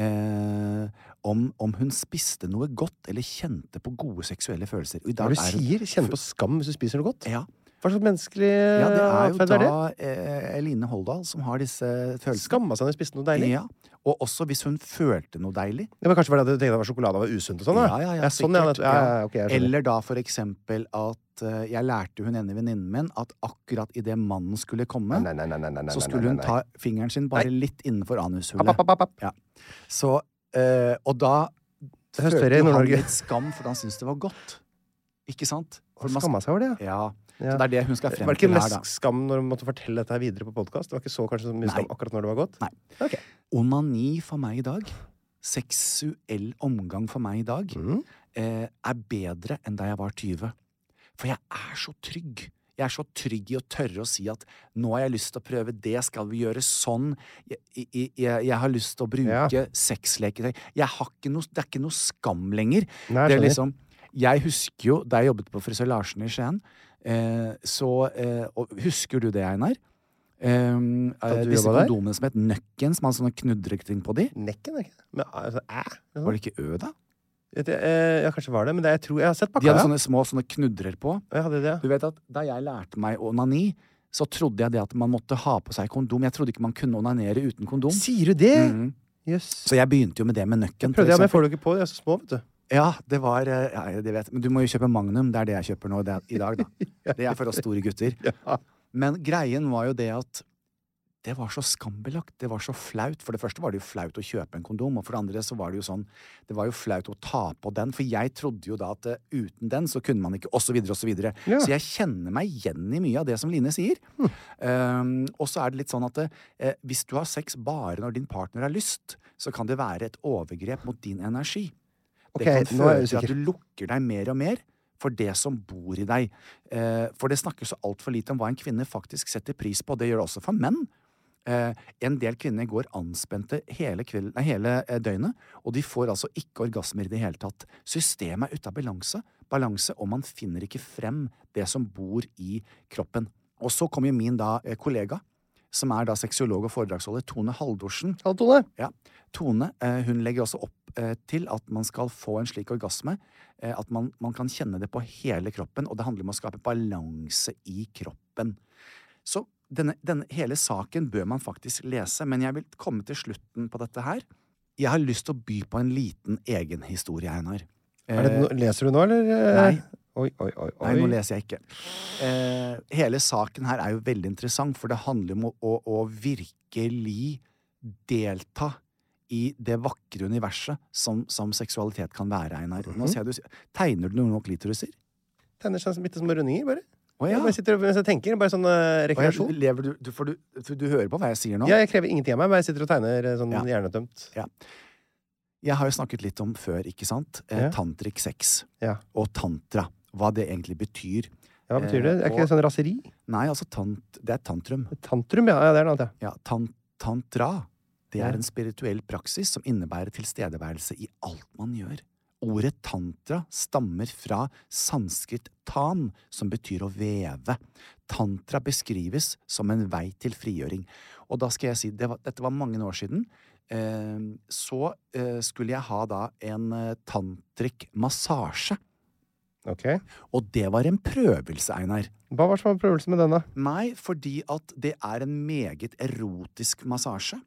Speaker 2: eh, om, om hun spiste noe godt eller kjente på gode seksuelle følelser. Og i
Speaker 1: Hva er
Speaker 2: dag
Speaker 1: det
Speaker 2: er
Speaker 1: du
Speaker 2: hun-
Speaker 1: sier? Kjenne på skam hvis du spiser noe godt?
Speaker 2: Ja,
Speaker 1: Hva slags menneskelig
Speaker 2: ja, det er jo
Speaker 1: atferd er det?
Speaker 2: da eh, Eline Holdal som har disse følelsene.
Speaker 1: Skamma seg når du spiste noe deilig?
Speaker 2: Ja, og også hvis hun følte noe deilig.
Speaker 1: Det var kanskje fordi du tenkte at sjokolade var usunt og sånn? da?
Speaker 2: Ja, ja, ja,
Speaker 1: ja, sånn, ja,
Speaker 2: sikkert,
Speaker 1: nettopp. ja, ja, ok, jeg skjønner.
Speaker 2: Eller da for eksempel at eh, jeg lærte hun ene venninnen min at akkurat idet mannen skulle komme,
Speaker 1: Nei, nei, nei, nei, nei, nei,
Speaker 2: så
Speaker 1: nei,
Speaker 2: skulle hun
Speaker 1: nei, nei.
Speaker 2: ta fingeren sin bare litt innenfor anushullet.
Speaker 1: App, app, app, app.
Speaker 2: Ja. Så, eh, og da
Speaker 1: høres
Speaker 2: følte
Speaker 1: dere i
Speaker 2: jo han
Speaker 1: Nord-Norge.
Speaker 2: litt skam, for han syntes det var godt. Ikke sant? For
Speaker 1: Hun
Speaker 2: man-
Speaker 1: skamma seg over det, ja.
Speaker 2: Ja.
Speaker 1: Ja.
Speaker 2: Så det er det hun skal
Speaker 1: Det
Speaker 2: frem
Speaker 1: var ikke
Speaker 2: til her,
Speaker 1: mest
Speaker 2: da.
Speaker 1: skam når du måtte fortelle dette her videre på podkast? Det var ikke så kanskje så mye skam akkurat når det var godt?
Speaker 2: Nei.
Speaker 1: Ok.
Speaker 2: Onani for meg i dag, seksuell omgang for meg i dag,
Speaker 1: Mm.
Speaker 2: eh, er bedre enn da jeg var 20. For jeg er så trygg. Jeg er så trygg i å tørre å si at nå har jeg lyst til å prøve det, skal vi gjøre sånn, jeg, jeg, jeg, jeg har lyst til å bruke
Speaker 1: Ja.
Speaker 2: sexleketøy. Jeg har ikke noe, det er ikke noe skam lenger.
Speaker 1: Nei,
Speaker 2: det er
Speaker 1: skjønner.
Speaker 2: liksom, jeg husker jo da jeg jobbet på Frisør Larsen i Skien, eh, så eh, og, Husker du det, Einar? Um, eh,
Speaker 1: du
Speaker 2: disse
Speaker 1: jobbet der?
Speaker 2: kondomene som het Nøkken, som hadde sånne knudreting på de.
Speaker 1: Nekken, er ikke det? Men, altså, æ?
Speaker 2: Var det ikke Ø, da?
Speaker 1: Vet du, eh, ja, kanskje var det, men det, jeg tror jeg har sett
Speaker 2: De
Speaker 1: pakka.
Speaker 2: hadde
Speaker 1: ja.
Speaker 2: sånne små sånne knudrer på.
Speaker 1: Jeg hadde det,
Speaker 2: Du vet at Da jeg lærte meg onani, så trodde jeg det at man måtte ha på seg kondom. Jeg trodde ikke man kunne onanere uten
Speaker 1: ja.
Speaker 2: kondom.
Speaker 1: Sier du det?!
Speaker 2: Mhm.
Speaker 1: Jøss.
Speaker 2: Så jeg begynte jo med det med nøkken. for
Speaker 1: Prøvde jeg, men jeg
Speaker 2: eksempel.
Speaker 1: får det ikke på. De er så små, vet du.
Speaker 2: Ja, det var eh, ja, det vet. jeg. Men du må jo kjøpe Magnum. Det er det jeg kjøper nå det er, i dag, da. Det er for oss store gutter. Men greien var jo det at det var så skambelagt. Det var så flaut. For det første var det jo flaut å kjøpe en kondom, og for det andre så var det jo sånn Det var jo flaut å ta på den, for jeg trodde jo da at eh, uten den så kunne man ikke Og så videre og så videre.
Speaker 1: Ja. Hm.
Speaker 2: Så jeg kjenner meg igjen i mye av det som Line sier. Um, og så er det litt sånn at eh, hvis du har sex bare når din partner har lyst, så kan det være et overgrep mot din energi.
Speaker 1: Ok,
Speaker 2: det kan
Speaker 1: nå er
Speaker 2: føre
Speaker 1: jeg
Speaker 2: til at
Speaker 1: usikker.
Speaker 2: du lukker deg mer og mer for det som bor i deg. Eh, for det snakkes så altfor lite om hva en kvinne faktisk setter pris på. Det gjør det også for menn. Eh, en del kvinner går anspente hele, kvelden, nei, hele eh, døgnet, og de får altså ikke orgasmer i det hele tatt. Systemet er ute av balanse, balanse, og man finner ikke frem det som bor i kroppen. Og så kommer jo min da eh, kollega, som er da sexolog og foredragsholder, Tone Haldorsen.
Speaker 1: Hallo, Tone.
Speaker 2: Ja. Tone eh, hun legger også opp eh, til at man skal få en slik orgasme. eh, At man, man kan kjenne det på hele kroppen, og det handler om å skape balanse i kroppen. Så denne, denne hele saken bør man faktisk lese, men jeg vil komme til slutten på dette her. Jeg har lyst til å by på en liten egen historie, Einar. Eh,
Speaker 1: Er det, no- leser du nå, eller? eh?
Speaker 2: Nei.
Speaker 1: Oi, oi, oi. oi.
Speaker 2: Nei, nå leser jeg ikke. Eh, hele saken her er jo veldig interessant, for det handler om å, å, å virkelig delta i det vakre universet som, som seksualitet kan være, Einar. Nå
Speaker 1: Mhm.
Speaker 2: ser jeg du, s- Tegner du noen klitoriser?
Speaker 1: Tegner sånne bitte små rundinger, bare.
Speaker 2: Å
Speaker 1: Jeg bare sitter og mens jeg tenker. Bare sånn eh,
Speaker 2: Å, jeg,
Speaker 1: rekreasjon.
Speaker 2: lever du, du, for du, for du hører på hva jeg sier nå?
Speaker 1: Ja, jeg krever ingenting av meg, bare jeg sitter og tegner eh, sånn
Speaker 2: Ja.
Speaker 1: hjernetømt.
Speaker 2: Jeg har jo snakket litt om før, ikke sant? Eh,
Speaker 1: Ja.
Speaker 2: Tantric sex
Speaker 1: Ja.
Speaker 2: og tantra. Hva det egentlig betyr.
Speaker 1: Ja, hva betyr det? Er ikke
Speaker 2: Eh,
Speaker 1: det
Speaker 2: og-
Speaker 1: sånn raseri?
Speaker 2: Nei, altså tant, det er tantrum.
Speaker 1: Tantrum, ja. ja det er noe annet,
Speaker 2: Ja, tan tantra. Det
Speaker 1: Ja.
Speaker 2: er en spirituell praksis som innebærer tilstedeværelse i alt man gjør. Ordet tantra stammer fra sanskrit tan, som betyr å veve. Tantra beskrives som en vei til frigjøring. Og da skal jeg si, det var, dette var mange år siden, eh, så eh, skulle jeg ha da en eh, tantric
Speaker 1: ja.
Speaker 2: massasje.
Speaker 1: Ok.
Speaker 2: Og det var en prøvelse, Einar.
Speaker 1: Hva var som var prøvelsen med den, da?
Speaker 2: Nei, fordi at det er en meget erotisk massasje.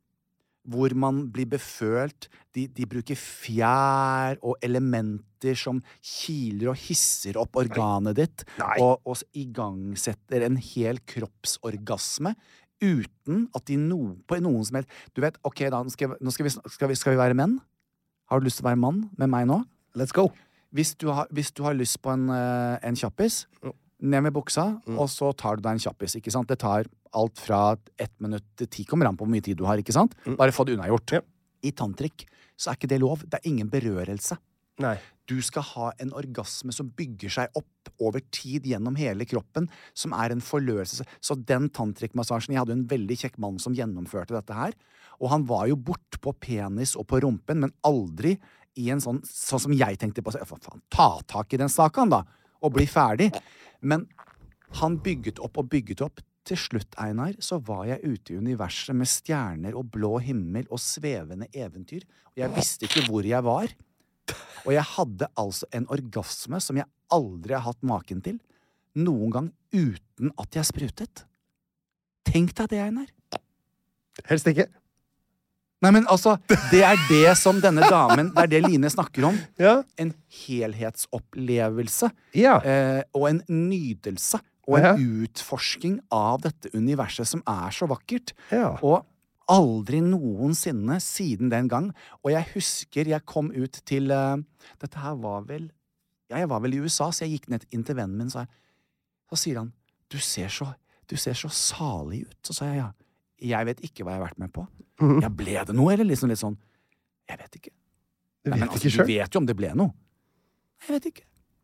Speaker 2: Hvor man blir befølt. De, de bruker fjær og elementer som kiler og hisser opp organet ditt.
Speaker 1: Nei.
Speaker 2: Og, og s- igangsetter en hel kroppsorgasme. Uten at de no, på noen som helst Du vet, ok, da nå skal, jeg- nå skal, vi, sn- skal, vi, skal vi være menn? Har du lyst til å være mann med meg nå?
Speaker 1: Let's go.
Speaker 2: Hvis du har, hvis du har lyst på en, eh, en kjappis, ned med buksa,
Speaker 1: Mm.
Speaker 2: og så tar du deg en kjappis. ikke sant? Det tar alt fra ett minutt til ti, kommer an på hvor mye tid du har. ikke sant?
Speaker 1: Mm.
Speaker 2: Bare få det unnagjort. I tantric så er ikke det lov. Det er ingen berørelse.
Speaker 1: Nei.
Speaker 2: Du skal ha en orgasme som bygger seg opp over tid gjennom hele kroppen, som er en forløselse. Så den tantrikmassasjen Jeg hadde jo en veldig kjekk mann som gjennomførte dette her. Og han var jo bortpå penis og på rumpen, men aldri i en sånn Sånn som jeg tenkte på. Så, for faen, ta tak i den saken, da! Og bli ferdig. Men han bygget opp og bygget opp. Til slutt, Einar, så var jeg ute i universet med stjerner og blå himmel og svevende eventyr, og jeg visste ikke hvor jeg var. Og jeg hadde altså en orgasme som jeg aldri har hatt maken til, noen gang uten at jeg sprutet. Tenk deg det, Einar.
Speaker 1: Helst ikke.
Speaker 2: Nei, men altså, det er det som denne damen, det er det Line snakker om.
Speaker 1: Ja.
Speaker 2: En helhetsopplevelse
Speaker 1: Ja.
Speaker 2: eh, og en nydelse og en
Speaker 1: Ja.
Speaker 2: utforsking av dette universet som er så vakkert.
Speaker 1: Ja.
Speaker 2: Og aldri noensinne siden den gang. Og jeg husker jeg kom ut til eh, Dette her var vel Ja, jeg var vel i USA, så jeg gikk ned inn til vennen min, så, jeg, så sier han du ser så, du ser så salig ut. Så sa jeg ja. Jeg vet ikke hva jeg har vært med på.
Speaker 1: Mhm.
Speaker 2: Ja, ble det noe, eller liksom litt sånn Jeg vet ikke.
Speaker 1: Du
Speaker 2: Nei,
Speaker 1: vet
Speaker 2: men altså,
Speaker 1: ikke sjøl.
Speaker 2: du vet jo om det ble noe. Jeg vet ikke.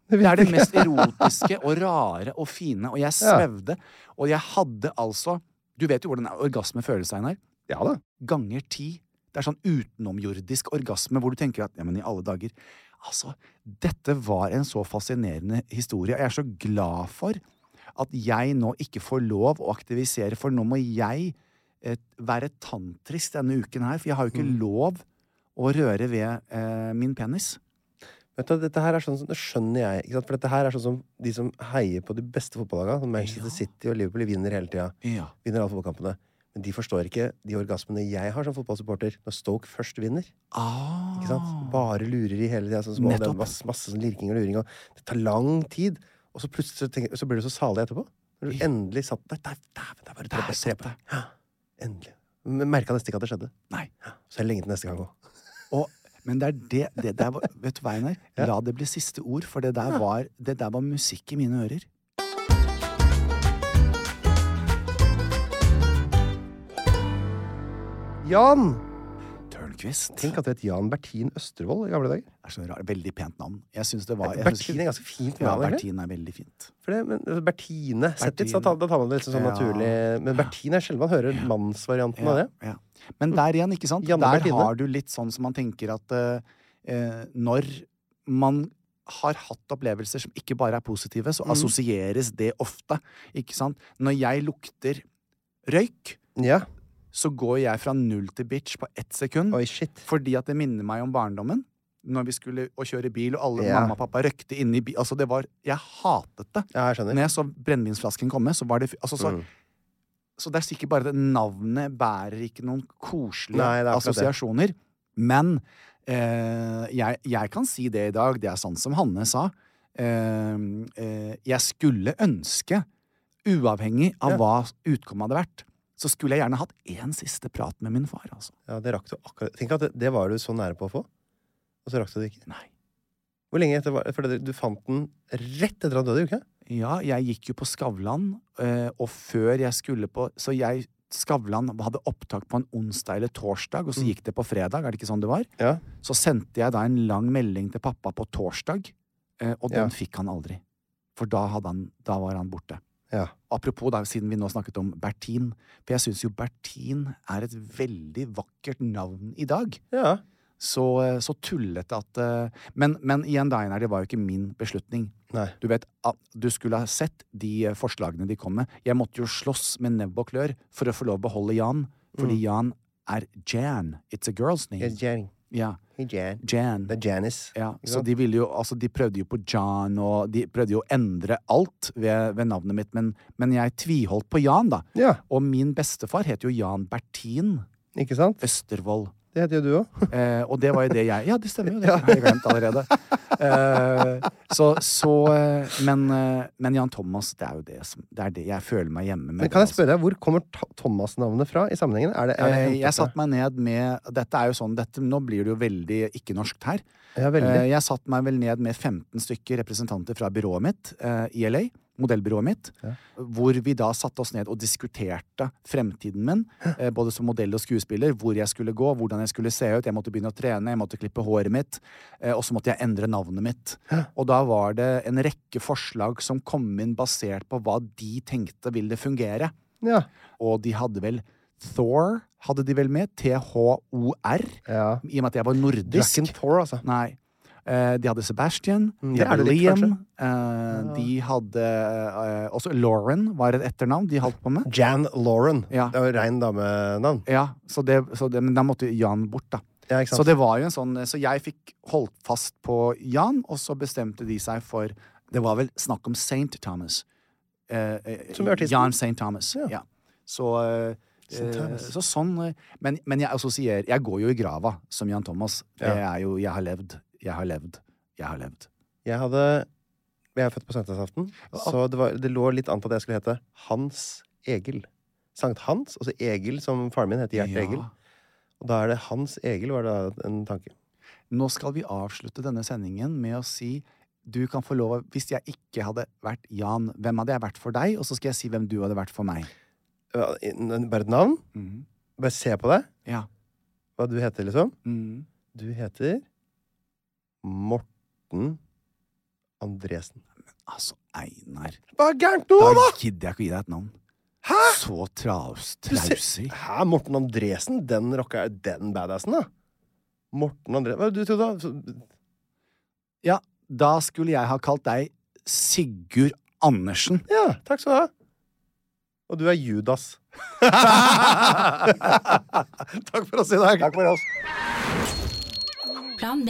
Speaker 1: vet
Speaker 2: Det er det mest erotiske og rare og fine, og jeg svevde, og jeg hadde altså Du vet jo hvordan orgasme føles, Einar.
Speaker 1: Ja da.
Speaker 2: Ganger ti. Det er sånn utenomjordisk orgasme hvor du tenker at ja, men i alle dager Altså, dette var en så fascinerende historie, og jeg er så glad for at jeg nå ikke får lov å aktivisere, for nå må jeg eh, være tantrisk denne uken her, for jeg har jo ikke
Speaker 1: Mm.
Speaker 2: lov å røre ved eh, min penis.
Speaker 1: Vet du, dette her er sånn som, det skjønner jeg. Ikke sant? For dette her er sånn som de som heier på de beste fotballagene, som Manchester City og Liverpool, de vinner hele tida.
Speaker 2: Ja.
Speaker 1: Vinner alle fotballkampene. Men de forstår ikke de orgasmene jeg har som fotballsupporter når Stoke først vinner.
Speaker 2: Ah.
Speaker 1: Ikke sant? Bare lurer i hele tida. Sånn små- det er
Speaker 2: Nettopp.
Speaker 1: masse, masse sånn lirking og luring. Og det tar lang tid, og så plutselig så tenker, så blir du så salig etterpå. Når du endelig satt der. der, der, der bare tre
Speaker 2: Der
Speaker 1: på-
Speaker 2: satt
Speaker 1: tre på. Ja, endelig. Merka nesten ikke at det skjedde.
Speaker 2: Nei.
Speaker 1: Så er det lenge til neste gang òg.
Speaker 2: Og, men det er det, det der var, Vet du hva, Einar? La det bli siste ord, for det der, var, det der var musikk i mine ører.
Speaker 1: Jan!
Speaker 2: Turn Blomkvist.
Speaker 1: Tenk at det het Jan Bertin Østervold i gamle dager.
Speaker 2: Det er så rart. Veldig pent navn. Jeg synes det var... jeg synes-
Speaker 1: Bertine er ganske fint
Speaker 2: Ja,
Speaker 1: navn, egentlig.
Speaker 2: Bertine er veldig fint.
Speaker 1: For det, men, altså, Bertine Zetlitz, da,
Speaker 2: Bertine.
Speaker 1: tar- da tar man det liksom sånn
Speaker 2: Ja.
Speaker 1: naturlig Men Bertine er sjelden man hører mannsvarianten av
Speaker 2: Ja,
Speaker 1: det.
Speaker 2: ja. Men der igjen, ikke sant?
Speaker 1: Janne
Speaker 2: der
Speaker 1: Bertine.
Speaker 2: har du litt sånn som man tenker at eh, eh, når man har hatt opplevelser som ikke bare er positive,
Speaker 1: Mm.
Speaker 2: så assosieres det ofte. Ikke sant? Når jeg lukter røyk,
Speaker 1: Ja.
Speaker 2: så går jeg fra null til bitch på ett sekund.
Speaker 1: Oi, shit.
Speaker 2: Fordi at det minner meg om barndommen. Når vi skulle å kjøre bil, og alle
Speaker 1: Ja.
Speaker 2: mamma og pappa røykte inni bil. Altså, det var Jeg hatet det.
Speaker 1: Ja, Mm. jeg skjønner.
Speaker 2: Når jeg så brennevinsflasken komme, så var det altså, så, så det er sikkert bare at navnet bærer ikke noen koselige
Speaker 1: Nei, det er akkurat det.
Speaker 2: assosiasjoner. Men eh, jeg, jeg kan si det i dag. Det er sånn som Hanne sa. Eh, eh, jeg skulle ønske, uavhengig av
Speaker 1: Ja.
Speaker 2: hva utkommet hadde vært, så skulle jeg gjerne hatt én siste prat med min far, altså.
Speaker 1: Ja, det rakk du akkurat Tenk at det, det var du så nære på å få, og så rakk du det ikke.
Speaker 2: Nei.
Speaker 1: Hvor lenge etter var det? For det- du fant den rett etter at han døde, gjorde du ikke?
Speaker 2: Ja, jeg gikk jo på Skavlan, eh, og før jeg skulle på Så jeg Skavlan hadde opptak på en onsdag eller torsdag, og så gikk det på fredag. Er det ikke sånn det var?
Speaker 1: Ja.
Speaker 2: Så sendte jeg da en lang melding til pappa på torsdag, eh, og
Speaker 1: Ja.
Speaker 2: den fikk han aldri. For da, hadde han, da var han borte.
Speaker 1: Ja.
Speaker 2: Apropos, da, siden vi nå snakket om Bertin, for jeg syns jo Bertin er et veldig vakkert navn i dag.
Speaker 1: ja.
Speaker 2: Så, eh, så tullete at eh, Men, men igjen, da, Einar, det var jo ikke min beslutning.
Speaker 1: Nei.
Speaker 2: Du vet, ah, du skulle ha sett de eh, forslagene de kom med. Jeg måtte jo slåss med nebb og klør for å få lov å beholde Jan, fordi Jan er Jan. It's a girl's name.
Speaker 1: Mm. Yes, Jan.
Speaker 2: Ja,
Speaker 1: Hey, Jan.
Speaker 2: Jan.
Speaker 1: Det er Janice.
Speaker 2: Ja,
Speaker 1: Ikke
Speaker 2: så
Speaker 1: sant?
Speaker 2: de ville jo, altså de prøvde jo på Jan, og de prøvde jo å endre alt ved, ved navnet mitt, men, men jeg tviholdt på Jan, da.
Speaker 1: Ja,
Speaker 2: Og min bestefar het jo Jan Bertin
Speaker 1: ikke sant?
Speaker 2: Østervold.
Speaker 1: Det heter jo du òg.
Speaker 2: Eh, og det var jo det jeg Ja, det stemmer jo, det har jeg glemt allerede. Eh, så, så eh, men, eh, men Jan Thomas, det er jo det som Det er det jeg føler meg hjemme med.
Speaker 1: Men kan jeg spørre deg, hvor kommer Ta- Thomas-navnet fra i sammenhengen? Er det, er det
Speaker 2: Eh,
Speaker 1: hentet
Speaker 2: Jeg
Speaker 1: fra-
Speaker 2: satte meg ned med Dette er jo sånn, dette, nå blir det jo veldig ikke-norskt her.
Speaker 1: Ja, veldig.
Speaker 2: Eh, Jeg satte meg vel ned med 15 stykker representanter fra byrået mitt eh, i LA, modellbyrået mitt, hvor vi da satte oss ned og diskuterte fremtiden min, eh, både som modell og skuespiller, hvor jeg skulle gå, hvordan jeg skulle se ut, jeg måtte begynne å trene, jeg måtte klippe håret mitt, eh, og så måtte jeg endre navnet mitt. Og da var det en rekke forslag som kom inn basert på hva de tenkte ville fungere.
Speaker 1: Ja.
Speaker 2: Og de hadde vel Thor, hadde de vel med, T-H-O-R,
Speaker 1: ja.
Speaker 2: i og med at jeg var nordisk.
Speaker 1: Draken Thor, altså.
Speaker 2: Nei. Eh, de hadde Sebastian, de
Speaker 1: det er
Speaker 2: hadde
Speaker 1: det litt,
Speaker 2: Liam,
Speaker 1: kanskje.
Speaker 2: eh, de hadde eh, Også Lauren var et etternavn de holdt på med.
Speaker 1: Jan Lauren.
Speaker 2: Ja.
Speaker 1: Det er jo rein damenavn.
Speaker 2: Ja, så det, så det, Men da måtte jo Jan bort, da.
Speaker 1: Ja, ikke sant?
Speaker 2: Så det var jo en sånn Så jeg fikk holdt fast på Jan, og så bestemte de seg for Det var vel snakk om St. Thomas. Eh, eh,
Speaker 1: Som artisten?
Speaker 2: Jan St. Thomas. Ja. Så eh,
Speaker 1: St. Thomas.
Speaker 2: eh, så sånn eh, Men, men jeg assosierer Jeg går jo i grava som Jan Thomas. Det er jo Jeg har levd. Jeg har levd. Jeg har levd.
Speaker 1: Jeg hadde Jeg er født på sankthansaften, så det, var, det lå litt an til at jeg skulle hete Hans Egil. Sankt Hans, og så Egil, som faren min heter Gjert
Speaker 2: Ja.
Speaker 1: Egil. Og da er det Hans Egil, var det da en tanke.
Speaker 2: Nå skal vi avslutte denne sendingen med å si du kan få lov, Hvis jeg ikke hadde vært Jan, hvem hadde jeg vært for deg? Og så skal jeg si hvem du hadde vært for meg.
Speaker 1: Ja, en- en- Bare et navn.
Speaker 2: Mhm.
Speaker 1: Bare se på deg.
Speaker 2: Ja.
Speaker 1: Hva du heter, liksom.
Speaker 2: Mhm.
Speaker 1: Du heter Morten Andresen.
Speaker 2: Altså, Einar
Speaker 1: Hva er gærent
Speaker 2: Da
Speaker 1: nå, da?!
Speaker 2: gidder jeg ikke å gi deg et navn.
Speaker 1: Hæ?!
Speaker 2: Så traus,
Speaker 1: Du ser-
Speaker 2: trausig.
Speaker 1: Hæ, Morten Andresen? Den rocka er den badassen, da. Morten Andresen Hva var det du trodde, da?
Speaker 2: Ja, da skulle jeg ha kalt deg Sigurd Andersen.
Speaker 1: Ja, takk skal du ha. Og du er Judas.
Speaker 2: Takk for oss i dag.
Speaker 1: Takk for oss.
Speaker 4: Plan B.